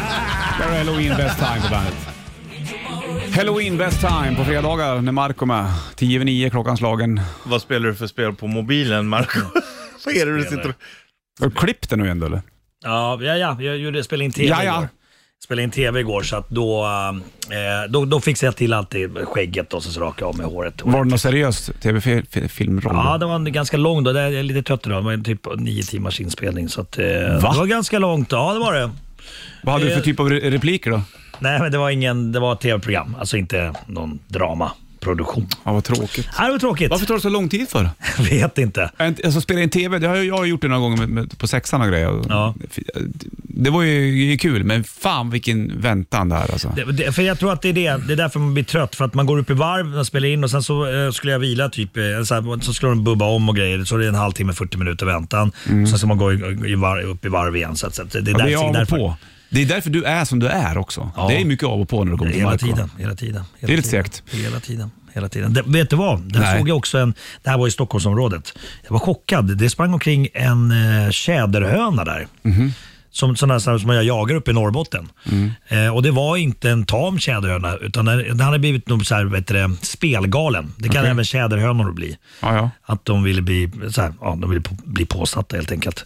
[SPEAKER 2] Här är Halloween Best Time på bandet. Halloween Best Time på fredagar när Marco är med. 10 över 9 klockan slagen.
[SPEAKER 3] Vad spelar du för spel på mobilen, Marco? Vad är det du sitter och...
[SPEAKER 2] Har du klippt det nu ändå eller?
[SPEAKER 7] Ja, ja, ja, jag gjorde, spelade in TV
[SPEAKER 2] Ja, ja.
[SPEAKER 7] igår. Spelade in TV igår så att då, eh, då, då fixade jag till alltid skägget och så rakade jag av mig håret.
[SPEAKER 2] Var det någon seriös tv-filmroll?
[SPEAKER 7] Ja, det var en ganska lång då. Det är- Jag är lite trött idag. Det var en typ nio timmars inspelning. Så att, eh, Det var ganska långt. Ja, det var det.
[SPEAKER 2] Vad hade du för typ av re- repliker då?
[SPEAKER 7] Nej, men det var ingen... Det var ett tv-program. Alltså inte någon dramaproduktion.
[SPEAKER 2] Ja, vad tråkigt.
[SPEAKER 7] Nej, det var tråkigt.
[SPEAKER 2] Varför tar det så lång tid för?
[SPEAKER 7] Jag vet inte.
[SPEAKER 2] En- Alltså spela in TV, det har jag, jag har gjort det några gånger med, med, på sexan och grejer.
[SPEAKER 7] Ja.
[SPEAKER 2] Det var ju kul, men fan vilken väntan det här alltså.
[SPEAKER 7] Det, det, för jag tror att det är det. Det är därför man blir trött. För att man går upp i varv, man spelar in och sen så eh, skulle jag vila typ. Eh, så, här, så skulle de bubba om och grejer. Så det är en halvtimme, 40 minuter väntan. Och sen ska man gå i, i varv, upp i varv igen. Så att, så att det är,
[SPEAKER 2] Mm. Ja, det är av
[SPEAKER 7] därför-
[SPEAKER 2] och
[SPEAKER 7] därför.
[SPEAKER 2] på. Det är därför du är som du är också.
[SPEAKER 7] Ja.
[SPEAKER 2] Det är mycket av och på när du kommer till
[SPEAKER 7] Hela
[SPEAKER 2] Marco.
[SPEAKER 7] tiden, hela tiden. Hela
[SPEAKER 2] Det är lite
[SPEAKER 7] tiden,
[SPEAKER 2] segt.
[SPEAKER 7] Hela tiden. Hela tiden. Det, vet du vad? Där
[SPEAKER 2] Nej.
[SPEAKER 7] såg jag också en, det här var i Stockholmsområdet. Jag var chockad. Det sprang omkring en eh, tjäderhöna där.
[SPEAKER 2] Mhm.
[SPEAKER 7] Som, sådana här som jag jagar uppe i Norrbotten.
[SPEAKER 2] Mm.
[SPEAKER 7] Eh, och Det var inte en tam tjäderhöna, utan den den hade blivit någon så här, vet du, det, spelgalen. Det kan även tjäderhönor bli.
[SPEAKER 2] Ja, ja.
[SPEAKER 7] Att de ville bli, så här, ja, de ville på, bli påsatta helt enkelt.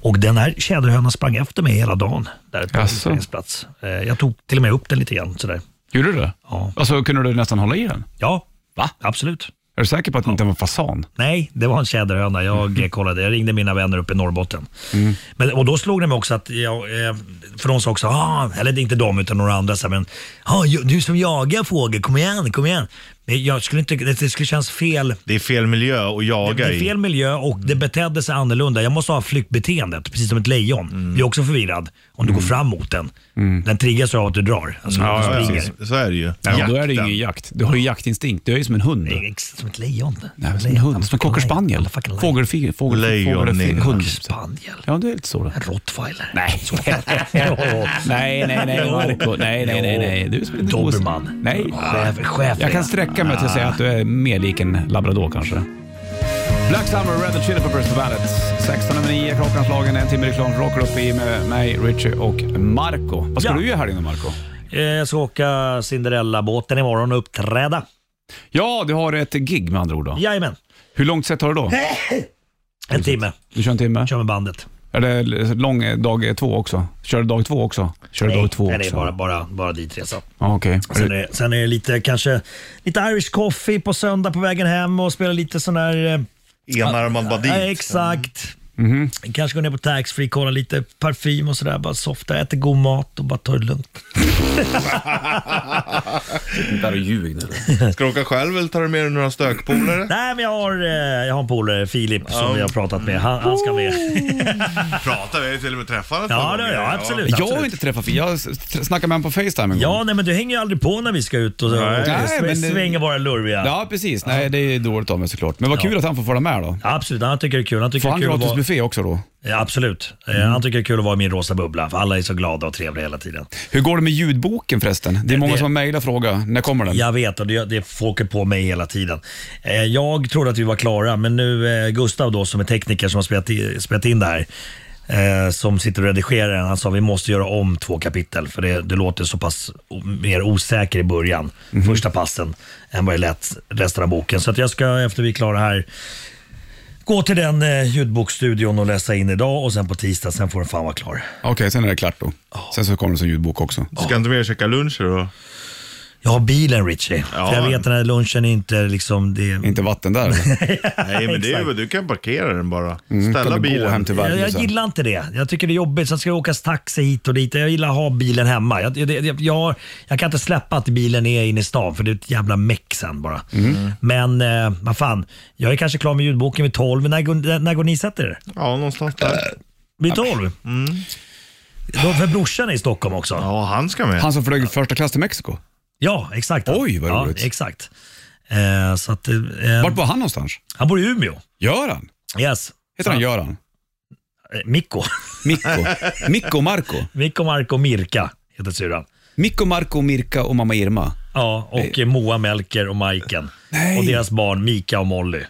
[SPEAKER 7] Och den här tjäderhönan sprang efter mig hela dagen där på
[SPEAKER 2] Mm. Jaså?
[SPEAKER 7] inspelningsplats. Eh, jag tog till och med upp den lite grann. Sådär.
[SPEAKER 2] Gjorde du det?
[SPEAKER 7] Ja.
[SPEAKER 2] Alltså kunde du nästan hålla i den?
[SPEAKER 7] Ja,
[SPEAKER 2] Va?
[SPEAKER 7] absolut.
[SPEAKER 2] Är du säker på att det inte var en fasan?
[SPEAKER 7] Nej, det var en tjäderhöna. Jag
[SPEAKER 2] Mhm.
[SPEAKER 7] eh, kollade. Jag ringde mina vänner uppe i Norrbotten.
[SPEAKER 2] Mm.
[SPEAKER 7] Men, och då slog det mig också att, jag, eh, för de sa också, ah, eller det är inte de utan några andra, så här, men ah, ju- du som jagar fågel, kom igen, kom igen. Men jag skulle inte, det, det skulle kännas fel.
[SPEAKER 3] Det är fel miljö att
[SPEAKER 7] Det
[SPEAKER 3] jaga
[SPEAKER 7] är
[SPEAKER 3] i.
[SPEAKER 7] fel miljö och det betedde sig annorlunda. Jag måste ha flyktbeteendet, precis som ett lejon.
[SPEAKER 2] Mm.
[SPEAKER 7] Du är också förvirrad om du går fram mot den. Den triggas av att du drar. Alltså,
[SPEAKER 2] Ja,
[SPEAKER 7] du
[SPEAKER 2] ja,
[SPEAKER 7] springer.
[SPEAKER 3] Precis, Så är det ju.
[SPEAKER 2] Ja, då är det ju
[SPEAKER 3] Jakten.
[SPEAKER 2] ingen jakt. Du har ju jaktinstinkt. Du är ju som en hund.
[SPEAKER 7] Det är ex- Som ett lejon.
[SPEAKER 2] Nej, men som en hund. Som en cocker spaniel.
[SPEAKER 7] Fågel. Fågel.
[SPEAKER 2] Fågelfi- fågel-
[SPEAKER 3] Lejon,
[SPEAKER 2] fågelfi-
[SPEAKER 3] nej.
[SPEAKER 2] Hund.
[SPEAKER 7] Spaniel.
[SPEAKER 2] Ja, det är lite så det.
[SPEAKER 7] En rottweiler.
[SPEAKER 2] Nej.
[SPEAKER 7] Så. Jo.
[SPEAKER 2] Nej, nej, nej,
[SPEAKER 7] Jo.
[SPEAKER 2] Marco. Nej, nej, nej, nej. Du är som en liten gos.
[SPEAKER 7] Dobermann.
[SPEAKER 2] Nej.
[SPEAKER 7] Chef- Chef
[SPEAKER 2] Jag kan sträcka mig till att säga att du är mer lik en labrador kanske. Black Summer, Red Hot Chili Peppers på bandet. 16.09 klockan slagen, en timme reklam. Rockar upp i med mig, Richie och Marco. Vad ska
[SPEAKER 7] Ja.
[SPEAKER 2] du göra här inne Marco?
[SPEAKER 7] Eh, Jag ska åka Cinderella-båten imorgon och uppträda.
[SPEAKER 2] Ja, du har ett gig med andra ord då.
[SPEAKER 7] Jajamän.
[SPEAKER 2] Hur långt sett har du då?
[SPEAKER 7] En timme
[SPEAKER 2] Du kör en timme?
[SPEAKER 7] kör med bandet.
[SPEAKER 2] Är det lång eh, dag två också? Kör du dag två också? Kör du dag två
[SPEAKER 7] nej,
[SPEAKER 2] också?
[SPEAKER 7] det är bara, Alltså, bara, bara ditresa.
[SPEAKER 2] Ja, Okej.
[SPEAKER 7] Sen är, sen är det lite kanske lite Irish coffee på söndag på vägen hem och spela lite sån här... eh,
[SPEAKER 3] Enarmad bandit.
[SPEAKER 7] Ja, exakt.
[SPEAKER 2] Mm-hmm.
[SPEAKER 7] Kanske gå ner på taxfree, kolla lite parfym och sådär. Bara softa, äta god mat och bara ta det lugnt.
[SPEAKER 8] Där och ljug nu.
[SPEAKER 3] Ska du åka själv eller tar du med dig några stökpolare?
[SPEAKER 7] Nej, men jag har, eh, jag har en polare, Filip, som vi har pratat med. Han, han ska med.
[SPEAKER 2] Oh.
[SPEAKER 3] Pratar vi? har ju till och med träffat ett
[SPEAKER 7] Ja,
[SPEAKER 3] par
[SPEAKER 7] det har
[SPEAKER 3] gånger.
[SPEAKER 7] jag. Absolut.
[SPEAKER 2] Jag har
[SPEAKER 7] absolut.
[SPEAKER 2] inte träffat Fia. Jag s- tr- snackade med honom på Facetime en gång.
[SPEAKER 7] Ja, nej, men du hänger ju aldrig på när vi ska ut och, och,
[SPEAKER 3] Nej,
[SPEAKER 7] sv-
[SPEAKER 2] men det-
[SPEAKER 7] svänger våra lurviga.
[SPEAKER 2] Ja, precis. Nej, det är dåligt av mig såklart. Men vad kul att han får följa med då.
[SPEAKER 7] Absolut, han tycker det är kul. Han tycker
[SPEAKER 2] Får
[SPEAKER 7] det är
[SPEAKER 2] han
[SPEAKER 7] kul att vara...
[SPEAKER 2] gratisbuffé också då?
[SPEAKER 7] ja, absolut. Eh, Han tycker det är kul att vara i min rosa bubbla, för alla är så glada och trevliga hela tiden.
[SPEAKER 2] Hur går det med ljudboken förresten? Det är många
[SPEAKER 7] det-
[SPEAKER 2] som har mejlat och frågat. När kommer den?
[SPEAKER 7] Jag vet och det, det folk är på mig hela tiden. Eh, Jag trodde att vi var klara men nu eh, Gustav då som är tekniker som har spelat, i- spelat in det här eh, som sitter och redigerar den. Han sa vi måste göra om två kapitel för det, det låter så pass o- mer osäker i början, första passen, än vad det lät resten av boken. Så att jag ska efter vi är klara här gå till den eh, ljudbokstudion och läsa in idag och sen på tisdag, sen får den fan vara klar.
[SPEAKER 2] Okej, sen är det klart då. Sen så kommer det som ljudbok också.
[SPEAKER 3] Ska inte mer käka luncher då?
[SPEAKER 7] Jag har bilen Richie.
[SPEAKER 3] Ja.
[SPEAKER 7] För jag vet den här lunchen är inte liksom... Det,
[SPEAKER 2] Inte vatten där eller?
[SPEAKER 3] Nej, men det är ju,
[SPEAKER 7] Exakt.
[SPEAKER 3] du kan parkera den bara.
[SPEAKER 2] Mm, Kan
[SPEAKER 3] Ställa
[SPEAKER 2] du gå hem
[SPEAKER 3] bilen.
[SPEAKER 2] till
[SPEAKER 7] Jag,
[SPEAKER 2] Värmdö
[SPEAKER 7] jag
[SPEAKER 2] sen?
[SPEAKER 7] gillar inte det. Jag tycker det är jobbigt. Sen ska det åkas taxi hit och dit. Jag gillar att ha bilen hemma. Jag, jag, jag, jag, jag kan inte släppa att bilen är inne i stan för det är ett jävla meck sen bara.
[SPEAKER 2] Mm.
[SPEAKER 7] Men eh, vad fan, jag är kanske klar med ljudboken vid 12. Men när, går- när går ni och sätter er?
[SPEAKER 3] Ja, någonstans där.
[SPEAKER 7] Vid 12? Mm. Då, för brorsan är i Stockholm också. Ja,
[SPEAKER 3] Ja, han ska med.
[SPEAKER 2] Han som flög första klass till Mexiko.
[SPEAKER 7] exakt.
[SPEAKER 2] Oj, vad
[SPEAKER 7] ja,
[SPEAKER 2] roligt.
[SPEAKER 7] Exakt. Eh, så att, eh,
[SPEAKER 2] Vart var han någonstans?
[SPEAKER 7] Han bor i Umeå.
[SPEAKER 2] Göran?
[SPEAKER 7] Yes.
[SPEAKER 2] Heter han Göran?
[SPEAKER 7] Eh, Mikko.
[SPEAKER 2] Mikko? Mikko Marco?
[SPEAKER 7] Mikko, Marko, Mirka heter syrran.
[SPEAKER 2] Mikko, Marco, Mirka och mamma Irma.
[SPEAKER 7] Ja, och Moa Melker och Majken.
[SPEAKER 2] Eh. Nej.
[SPEAKER 7] Och deras barn Mika och Molly.
[SPEAKER 2] Är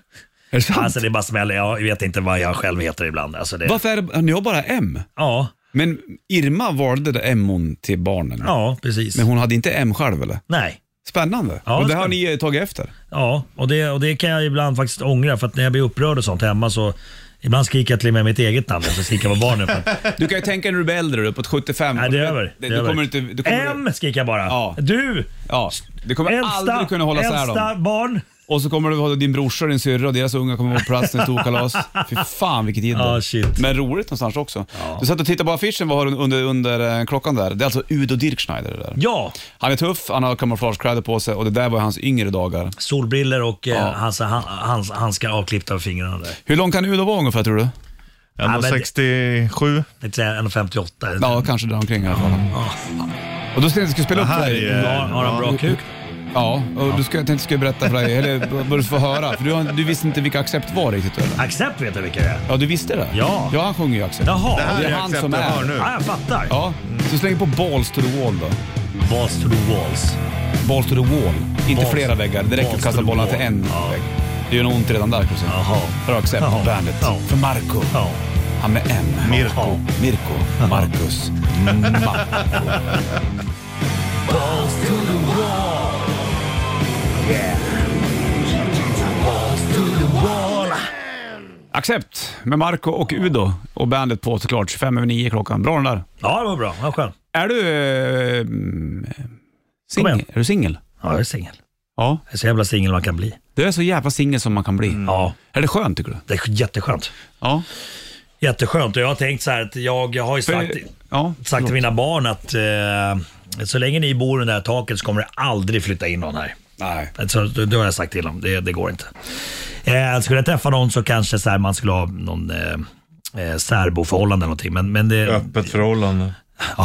[SPEAKER 2] det sant?
[SPEAKER 7] Alltså det bara smäller. Jag vet inte vad jag själv heter ibland. Alltså det,
[SPEAKER 2] Varför är det, ni har bara M?
[SPEAKER 7] ja,
[SPEAKER 2] Men Irma valde det M till barnen.
[SPEAKER 7] ja, precis.
[SPEAKER 2] Men hon hade inte M själv eller?
[SPEAKER 7] Nej.
[SPEAKER 2] Spännande.
[SPEAKER 7] Ja,
[SPEAKER 2] och det har
[SPEAKER 7] spännande.
[SPEAKER 2] ni eh, tagit efter?
[SPEAKER 7] Ja, och det, och det kan jag ibland faktiskt ångra för att när jag blir upprörd och sånt hemma så Ibland skriker jag till och med mitt eget namn och så skriker jag på barnen. För att,
[SPEAKER 2] Du kan ju tänka när du blir äldre, uppåt 75.
[SPEAKER 7] nej, det är över.
[SPEAKER 2] Det,
[SPEAKER 7] Det är
[SPEAKER 2] du
[SPEAKER 7] över.
[SPEAKER 2] kommer inte... Du kommer,
[SPEAKER 7] M skriker jag bara.
[SPEAKER 2] Ja.
[SPEAKER 7] Du,
[SPEAKER 2] Ja, du kommer
[SPEAKER 7] äldsta,
[SPEAKER 2] aldrig kunna hålla isär
[SPEAKER 7] äldsta
[SPEAKER 2] dem.
[SPEAKER 7] barn.
[SPEAKER 2] Och så kommer du ha din brorsa och din syrra och deras unga kommer vara på plats när det är storkalas. Fy fan vilket jidder.
[SPEAKER 7] Ja, shit.
[SPEAKER 2] Men roligt någonstans också. Du satt och tittade på affischen, vad har du under, under eh, klockan där? Det är alltså Udo Dirkschneider det där.
[SPEAKER 7] Ja,
[SPEAKER 2] Han är tuff, han har kamouflagekläder på sig och det där var hans yngre dagar.
[SPEAKER 7] solbriller och eh, hans, han, hans handskar avklippta av fingrarna där.
[SPEAKER 2] Hur lång kan Udo vara ungefär tror du?
[SPEAKER 3] Han
[SPEAKER 7] Ja,
[SPEAKER 3] var
[SPEAKER 7] men det-
[SPEAKER 3] 67.
[SPEAKER 7] Jag tänkte säga 1,58.
[SPEAKER 2] Ja, kanske där omkring i alla fall. Och då ska jag ska spela upp
[SPEAKER 3] Det
[SPEAKER 2] för
[SPEAKER 3] här
[SPEAKER 2] dig.
[SPEAKER 3] är-
[SPEAKER 7] Har, har han bra kuk?
[SPEAKER 2] Ja, och du ska, jag tänkte ska jag berätta för dig, eller bör du få höra. För du, har- du visste inte vilka Accept var riktigt eller?
[SPEAKER 7] Accept vet jag vilka det är.
[SPEAKER 2] Ja, du visste det?
[SPEAKER 7] Ja.
[SPEAKER 2] Ja, han sjunger ju Accept.
[SPEAKER 7] Jaha.
[SPEAKER 3] Det här
[SPEAKER 2] det är
[SPEAKER 3] är
[SPEAKER 2] han
[SPEAKER 3] accept
[SPEAKER 2] som
[SPEAKER 3] jag
[SPEAKER 2] är.
[SPEAKER 3] har nu.
[SPEAKER 7] Ja, jag fattar.
[SPEAKER 2] Ja, så släng på Balls to the wall då.
[SPEAKER 7] Balls to the walls.
[SPEAKER 2] Balls to the wall, inte
[SPEAKER 7] Balls-
[SPEAKER 2] flera väggar. Det räcker
[SPEAKER 7] balls
[SPEAKER 2] att kasta
[SPEAKER 7] to the
[SPEAKER 2] bollarna till
[SPEAKER 7] wall.
[SPEAKER 2] en
[SPEAKER 7] Ja.
[SPEAKER 2] vägg. Det gör nog ont redan där kan du säga.
[SPEAKER 7] Jaha.
[SPEAKER 2] Här har Accept,
[SPEAKER 7] Jaha.
[SPEAKER 2] bandet.
[SPEAKER 7] Ja.
[SPEAKER 2] För Marco.
[SPEAKER 7] Ja.
[SPEAKER 2] Han med M.
[SPEAKER 7] Mirko.
[SPEAKER 2] Mirko. Marcus. Mamma. Accept med Marco och Udo och bandet på såklart 25 över 9 klockan. Bra den där.
[SPEAKER 7] Ja, det var bra. Ja, skön.
[SPEAKER 2] Är du... Eh, mm, singel?
[SPEAKER 7] igen.
[SPEAKER 2] Är du singel?
[SPEAKER 7] Ja, jag är singel.
[SPEAKER 2] Ja.
[SPEAKER 7] Jag är så jävla singel man kan bli.
[SPEAKER 2] Du är så jävla singel som man kan bli.
[SPEAKER 7] Ja,
[SPEAKER 2] Är det skönt tycker du?
[SPEAKER 7] det är jätteskönt.
[SPEAKER 2] Ja.
[SPEAKER 7] Jätteskönt och jag har tänkt så här att jag, jag har ju sagt,
[SPEAKER 2] ja.
[SPEAKER 7] sagt till mina barn att eh, så länge ni bor under det här taket så kommer det aldrig flytta in någon här.
[SPEAKER 2] Nej.
[SPEAKER 7] Så, det, det har jag sagt till dem, det, det går inte. Eh, skulle jag träffa någon så kanske så här, man skulle ha någon eh, eh, särboförhållande eller någonting. Men, men det,
[SPEAKER 3] Öppet förhållande.
[SPEAKER 7] ja,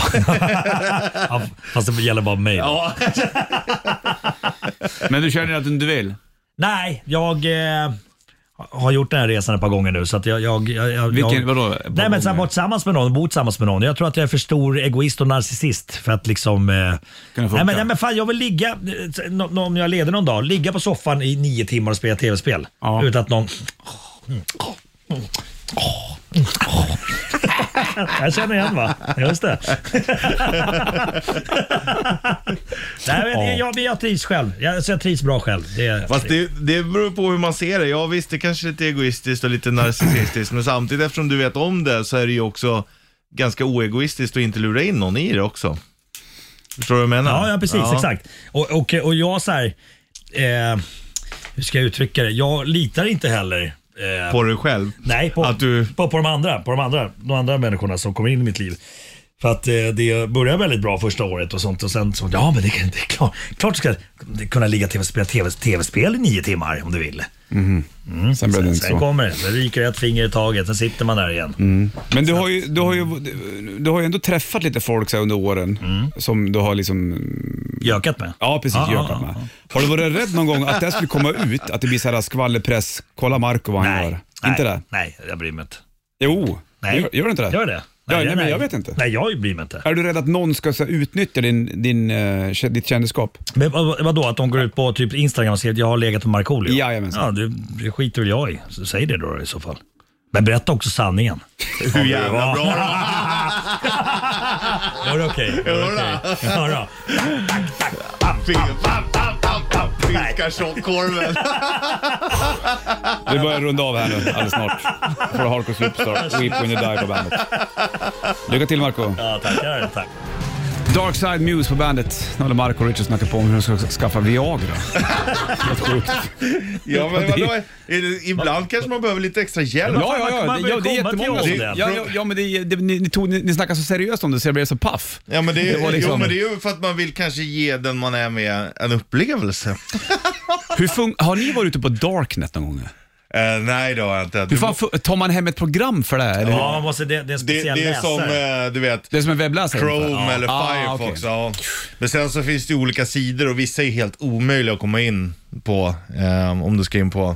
[SPEAKER 7] fast det gäller bara mig. då.
[SPEAKER 2] Men du känner att du inte vill?
[SPEAKER 7] Nej, jag eh, har gjort den här resan ett par gånger nu. Så att jag, jag, jag, jag,
[SPEAKER 2] Vilken-
[SPEAKER 7] jag,
[SPEAKER 2] vadå?
[SPEAKER 7] Nej, men så här,
[SPEAKER 2] gånger?
[SPEAKER 7] varit tillsammans med någon, bott tillsammans med någon. Jag tror att jag är för stor egoist och narcissist för att liksom... Eh,
[SPEAKER 2] Kunna funka.
[SPEAKER 7] nej, men, nej men fan, jag vill ligga, eh, nå- nå- om jag leder någon dag, ligga på soffan i nio timmar och spela tv-spel.
[SPEAKER 2] Ja.
[SPEAKER 7] Utan att någon... Jag känner igen va? Just det. Nej, men jag, jag, jag trivs själv. Jag, så jag trivs bra själv. Det,
[SPEAKER 3] Fast det, det beror på hur man ser det. Ja visst, det kanske är lite egoistiskt och lite narcissistiskt, men samtidigt eftersom du vet om det så är det ju också ganska oegoistiskt att inte lura in någon i det också. Förstår du vad jag menar?
[SPEAKER 7] Ja, ja precis. Exakt. Och, och, och jag så här, eh, hur ska jag uttrycka det? Jag litar inte heller eh,
[SPEAKER 3] På dig själv.
[SPEAKER 7] Nej, på,
[SPEAKER 3] Att du-
[SPEAKER 7] på, på, de andra, på de andra de andra människorna som kommer in i mitt liv. För att eh, det började väldigt bra första året och sånt och sen så, ja men det, kan- det är klart, klart ska du kunna ligga och spela TV, tv-spel i nio timmar om du vill.
[SPEAKER 2] Sen blev det inte
[SPEAKER 7] Mm. Sen
[SPEAKER 2] så. Mm.
[SPEAKER 7] kommer det, det ryker ett finger i taget, sen sitter man där igen.
[SPEAKER 2] Men du har, ju, du, har ju, du har ju ändå träffat lite folk så här under åren som du har liksom...
[SPEAKER 7] Gökat med.
[SPEAKER 2] Ja, precis.
[SPEAKER 7] Mm. Ja,
[SPEAKER 2] gökat
[SPEAKER 7] ja,
[SPEAKER 2] med.
[SPEAKER 7] ja,
[SPEAKER 2] Har du varit rädd någon gång att det här skulle komma ut? Att det blir så här skvallerpress. Kolla Marco vad han
[SPEAKER 7] Nej,
[SPEAKER 2] gör.
[SPEAKER 7] nej,
[SPEAKER 2] Inte det?
[SPEAKER 7] Nej, jag bryr mig inte.
[SPEAKER 2] Jo.
[SPEAKER 7] Nej.
[SPEAKER 2] Gör, gör du inte det?
[SPEAKER 7] Gör det?
[SPEAKER 2] Ja, nej, men jag vet inte.
[SPEAKER 7] Nej, jag bryr mig inte.
[SPEAKER 2] Är du rädd att någon ska så här, utnyttja din, din, eh, kä- ditt kändisskap?
[SPEAKER 7] Men vad, vadå, att de går ut på typ Instagram och säger att jag har legat med Markoolio?
[SPEAKER 2] Jajamensan.
[SPEAKER 7] Ja, det, det skiter väl jag i. Så säg det då i så fall. Men berätta också sanningen.
[SPEAKER 3] Hur jävla bra det
[SPEAKER 7] Var det okej? Okay? Ja, då.
[SPEAKER 3] var. Fiskar tjockkorven.
[SPEAKER 2] Vi börjar runda av här nu alldeles snart. Får du Hardcore Superstar, Weep When You Die på bandet. Lycka till Marco.
[SPEAKER 7] ja tackar. Tack.
[SPEAKER 2] Dark Side Muse på bandet. Nu håller Marco och Richard snackat på om hur de ska skaffa Viagra. Helt sjukt.
[SPEAKER 3] Ja men vadå? Är det- Ibland kanske man behöver lite extra hjälp.
[SPEAKER 2] Ja, ja, ja.
[SPEAKER 7] man
[SPEAKER 2] Det, ja, det är
[SPEAKER 7] komma till
[SPEAKER 2] jättemånga. som-
[SPEAKER 7] om det?
[SPEAKER 2] Ja, ja, ja, men det, det, ni, ni, tog, ni, ni snackade så seriöst om det så jag blev så paff.
[SPEAKER 3] Ja men det, är-
[SPEAKER 2] Det var liksom-
[SPEAKER 3] jo, men det är ju för att man vill kanske ge den man är med en upplevelse.
[SPEAKER 2] Hur fun- har ni varit ute på Darknet någon gång?
[SPEAKER 3] Eh, nej det har jag inte.
[SPEAKER 2] Hur fan fu- tar man hem ett program för det? här, Eller?
[SPEAKER 7] Ja, man måste, det, det är en
[SPEAKER 3] det,
[SPEAKER 7] speciell
[SPEAKER 3] det är
[SPEAKER 7] läsare.
[SPEAKER 3] som, eh, du vet,
[SPEAKER 2] Det är som en webbläsare?
[SPEAKER 3] Chrome
[SPEAKER 2] ungefär. Ja.
[SPEAKER 3] eller
[SPEAKER 2] Ah,
[SPEAKER 3] Firefox.
[SPEAKER 2] okej.
[SPEAKER 3] Ja. Men sen så finns det ju olika sidor och vissa är helt omöjliga att komma in på eh, om du ska in på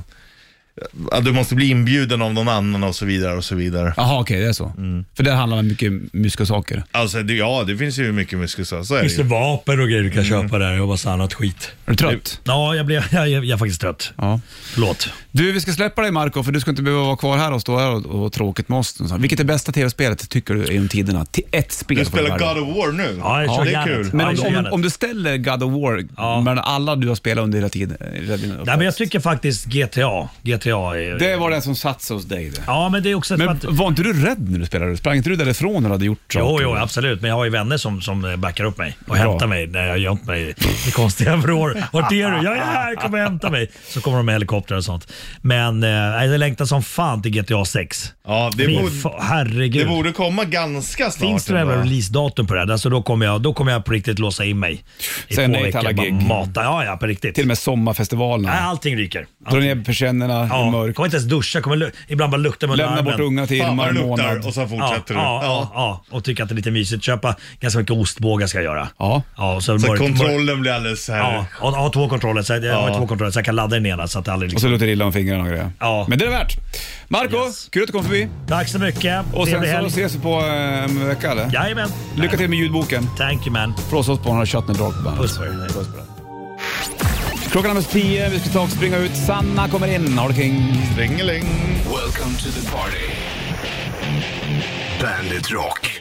[SPEAKER 3] Ja, du måste bli inbjuden av någon annan och så vidare och så vidare.
[SPEAKER 2] Jaha, okej, det är så.
[SPEAKER 3] Mm.
[SPEAKER 2] För där handlar det mycket myska saker.
[SPEAKER 3] Alltså det, ja, det finns ju hur mycket muskusar, så är det
[SPEAKER 7] Finns det
[SPEAKER 3] ju.
[SPEAKER 7] vapen och grejer du kan
[SPEAKER 2] Mm.
[SPEAKER 7] köpa där och massa annat skit?
[SPEAKER 2] Är du trött?
[SPEAKER 7] Ja, jag, blev, jag, jag, jag är faktiskt trött.
[SPEAKER 2] Ja.
[SPEAKER 7] Förlåt.
[SPEAKER 2] Du, vi ska släppa dig Marco för du ska inte behöva vara kvar här och stå här och, och ha tråkigt med oss. Vilket är bästa tv-spelet tycker du genom tiderna? Till ett spel.
[SPEAKER 3] Du
[SPEAKER 2] får
[SPEAKER 3] spelar
[SPEAKER 2] välja.
[SPEAKER 3] God of War nu.
[SPEAKER 7] Ja, jag kör
[SPEAKER 3] det är
[SPEAKER 7] järnet.
[SPEAKER 3] kul.
[SPEAKER 2] Men
[SPEAKER 7] Ja,
[SPEAKER 2] om, om,
[SPEAKER 7] järnet.
[SPEAKER 2] om du ställer God of War
[SPEAKER 7] Ja.
[SPEAKER 2] mellan alla du har spelat under hela tiden. eh, hela din
[SPEAKER 7] Nej, men jag
[SPEAKER 2] uppväxt.
[SPEAKER 7] tycker faktiskt GTA. GTA är...
[SPEAKER 2] Det var den som satt sig hos dig. Det.
[SPEAKER 7] Ja, men det är också för
[SPEAKER 2] Men
[SPEAKER 7] att...
[SPEAKER 2] var inte du rädd när du spelade? Sprang inte du därifrån när du hade gjort
[SPEAKER 7] Jo,
[SPEAKER 2] saker?
[SPEAKER 7] jo, absolut. Men jag har ju vänner som, som backar upp mig och
[SPEAKER 2] Bra.
[SPEAKER 7] hämtar mig när jag har gömt mig i konstiga vrår. Vart är du? Jag är här, kom och hämta mig. Så kommer de med helikoptrar och sånt. Men eh, jag längtar som fan till GTA 6.
[SPEAKER 3] Ja, det
[SPEAKER 7] Min
[SPEAKER 3] borde-
[SPEAKER 7] fa- herregud.
[SPEAKER 3] Det borde komma ganska snart.
[SPEAKER 7] Finns det några jävla
[SPEAKER 3] ändå.
[SPEAKER 7] releasedatum på det här? Alltså då, kommer jag, då kommer jag på riktigt låsa in mig. I
[SPEAKER 2] Säg
[SPEAKER 7] två
[SPEAKER 2] nej till
[SPEAKER 7] veckor,
[SPEAKER 2] alla
[SPEAKER 7] bara
[SPEAKER 2] gig. Mm.
[SPEAKER 7] Mata. Ja, ja, på riktigt.
[SPEAKER 2] Till och med sommarfestivalerna.
[SPEAKER 7] Nej, allting ryker.
[SPEAKER 2] Dra ner persiennerna i
[SPEAKER 7] Ja,
[SPEAKER 2] mörk.
[SPEAKER 7] kommer inte ens duscha. Kommer lu- ibland bara lukta med
[SPEAKER 2] Lämna
[SPEAKER 7] armen.
[SPEAKER 2] bort unga till
[SPEAKER 3] Fan vad
[SPEAKER 2] Irma
[SPEAKER 3] det
[SPEAKER 2] en
[SPEAKER 3] luktar
[SPEAKER 2] månad.
[SPEAKER 3] och sen
[SPEAKER 7] Ja,
[SPEAKER 3] fortsätter du.
[SPEAKER 7] ja, ja.
[SPEAKER 3] Ja.
[SPEAKER 7] ja, och tycka att det är lite mysigt. Köpa ganska mycket ostbågar ska jag göra.
[SPEAKER 2] Ja.
[SPEAKER 7] ja och så
[SPEAKER 3] Så
[SPEAKER 7] mörk- mörk-
[SPEAKER 3] kontrollen blir alldeles så här.
[SPEAKER 7] Ja, och, och två kontroller. Så jag, jag har
[SPEAKER 3] Ja.
[SPEAKER 7] två kontroller så jag kan ladda den ena. Så att det aldrig
[SPEAKER 2] Och
[SPEAKER 7] liksom.
[SPEAKER 2] så luktar det illa om fingrarna och grejer.
[SPEAKER 7] Ja.
[SPEAKER 2] Men det är det värt. Marco,
[SPEAKER 7] Yes.
[SPEAKER 2] kul att du kom förbi.
[SPEAKER 7] Tack så mycket.
[SPEAKER 2] Och sen
[SPEAKER 7] Trevlig
[SPEAKER 2] så
[SPEAKER 7] helg.
[SPEAKER 2] ses vi på eh, en vecka eller?
[SPEAKER 7] Jajamän.
[SPEAKER 2] Lycka till med ljudboken.
[SPEAKER 7] Thank you man.
[SPEAKER 2] Från oss på några Shut and Drag Band.
[SPEAKER 7] Puss på er.
[SPEAKER 2] Puss på dig. Klockan är nästan tio, vi ska ta och springa ut. Sanna kommer in, har du kring.
[SPEAKER 3] Ringeling.
[SPEAKER 1] Welcome to the party. Bandit Rock.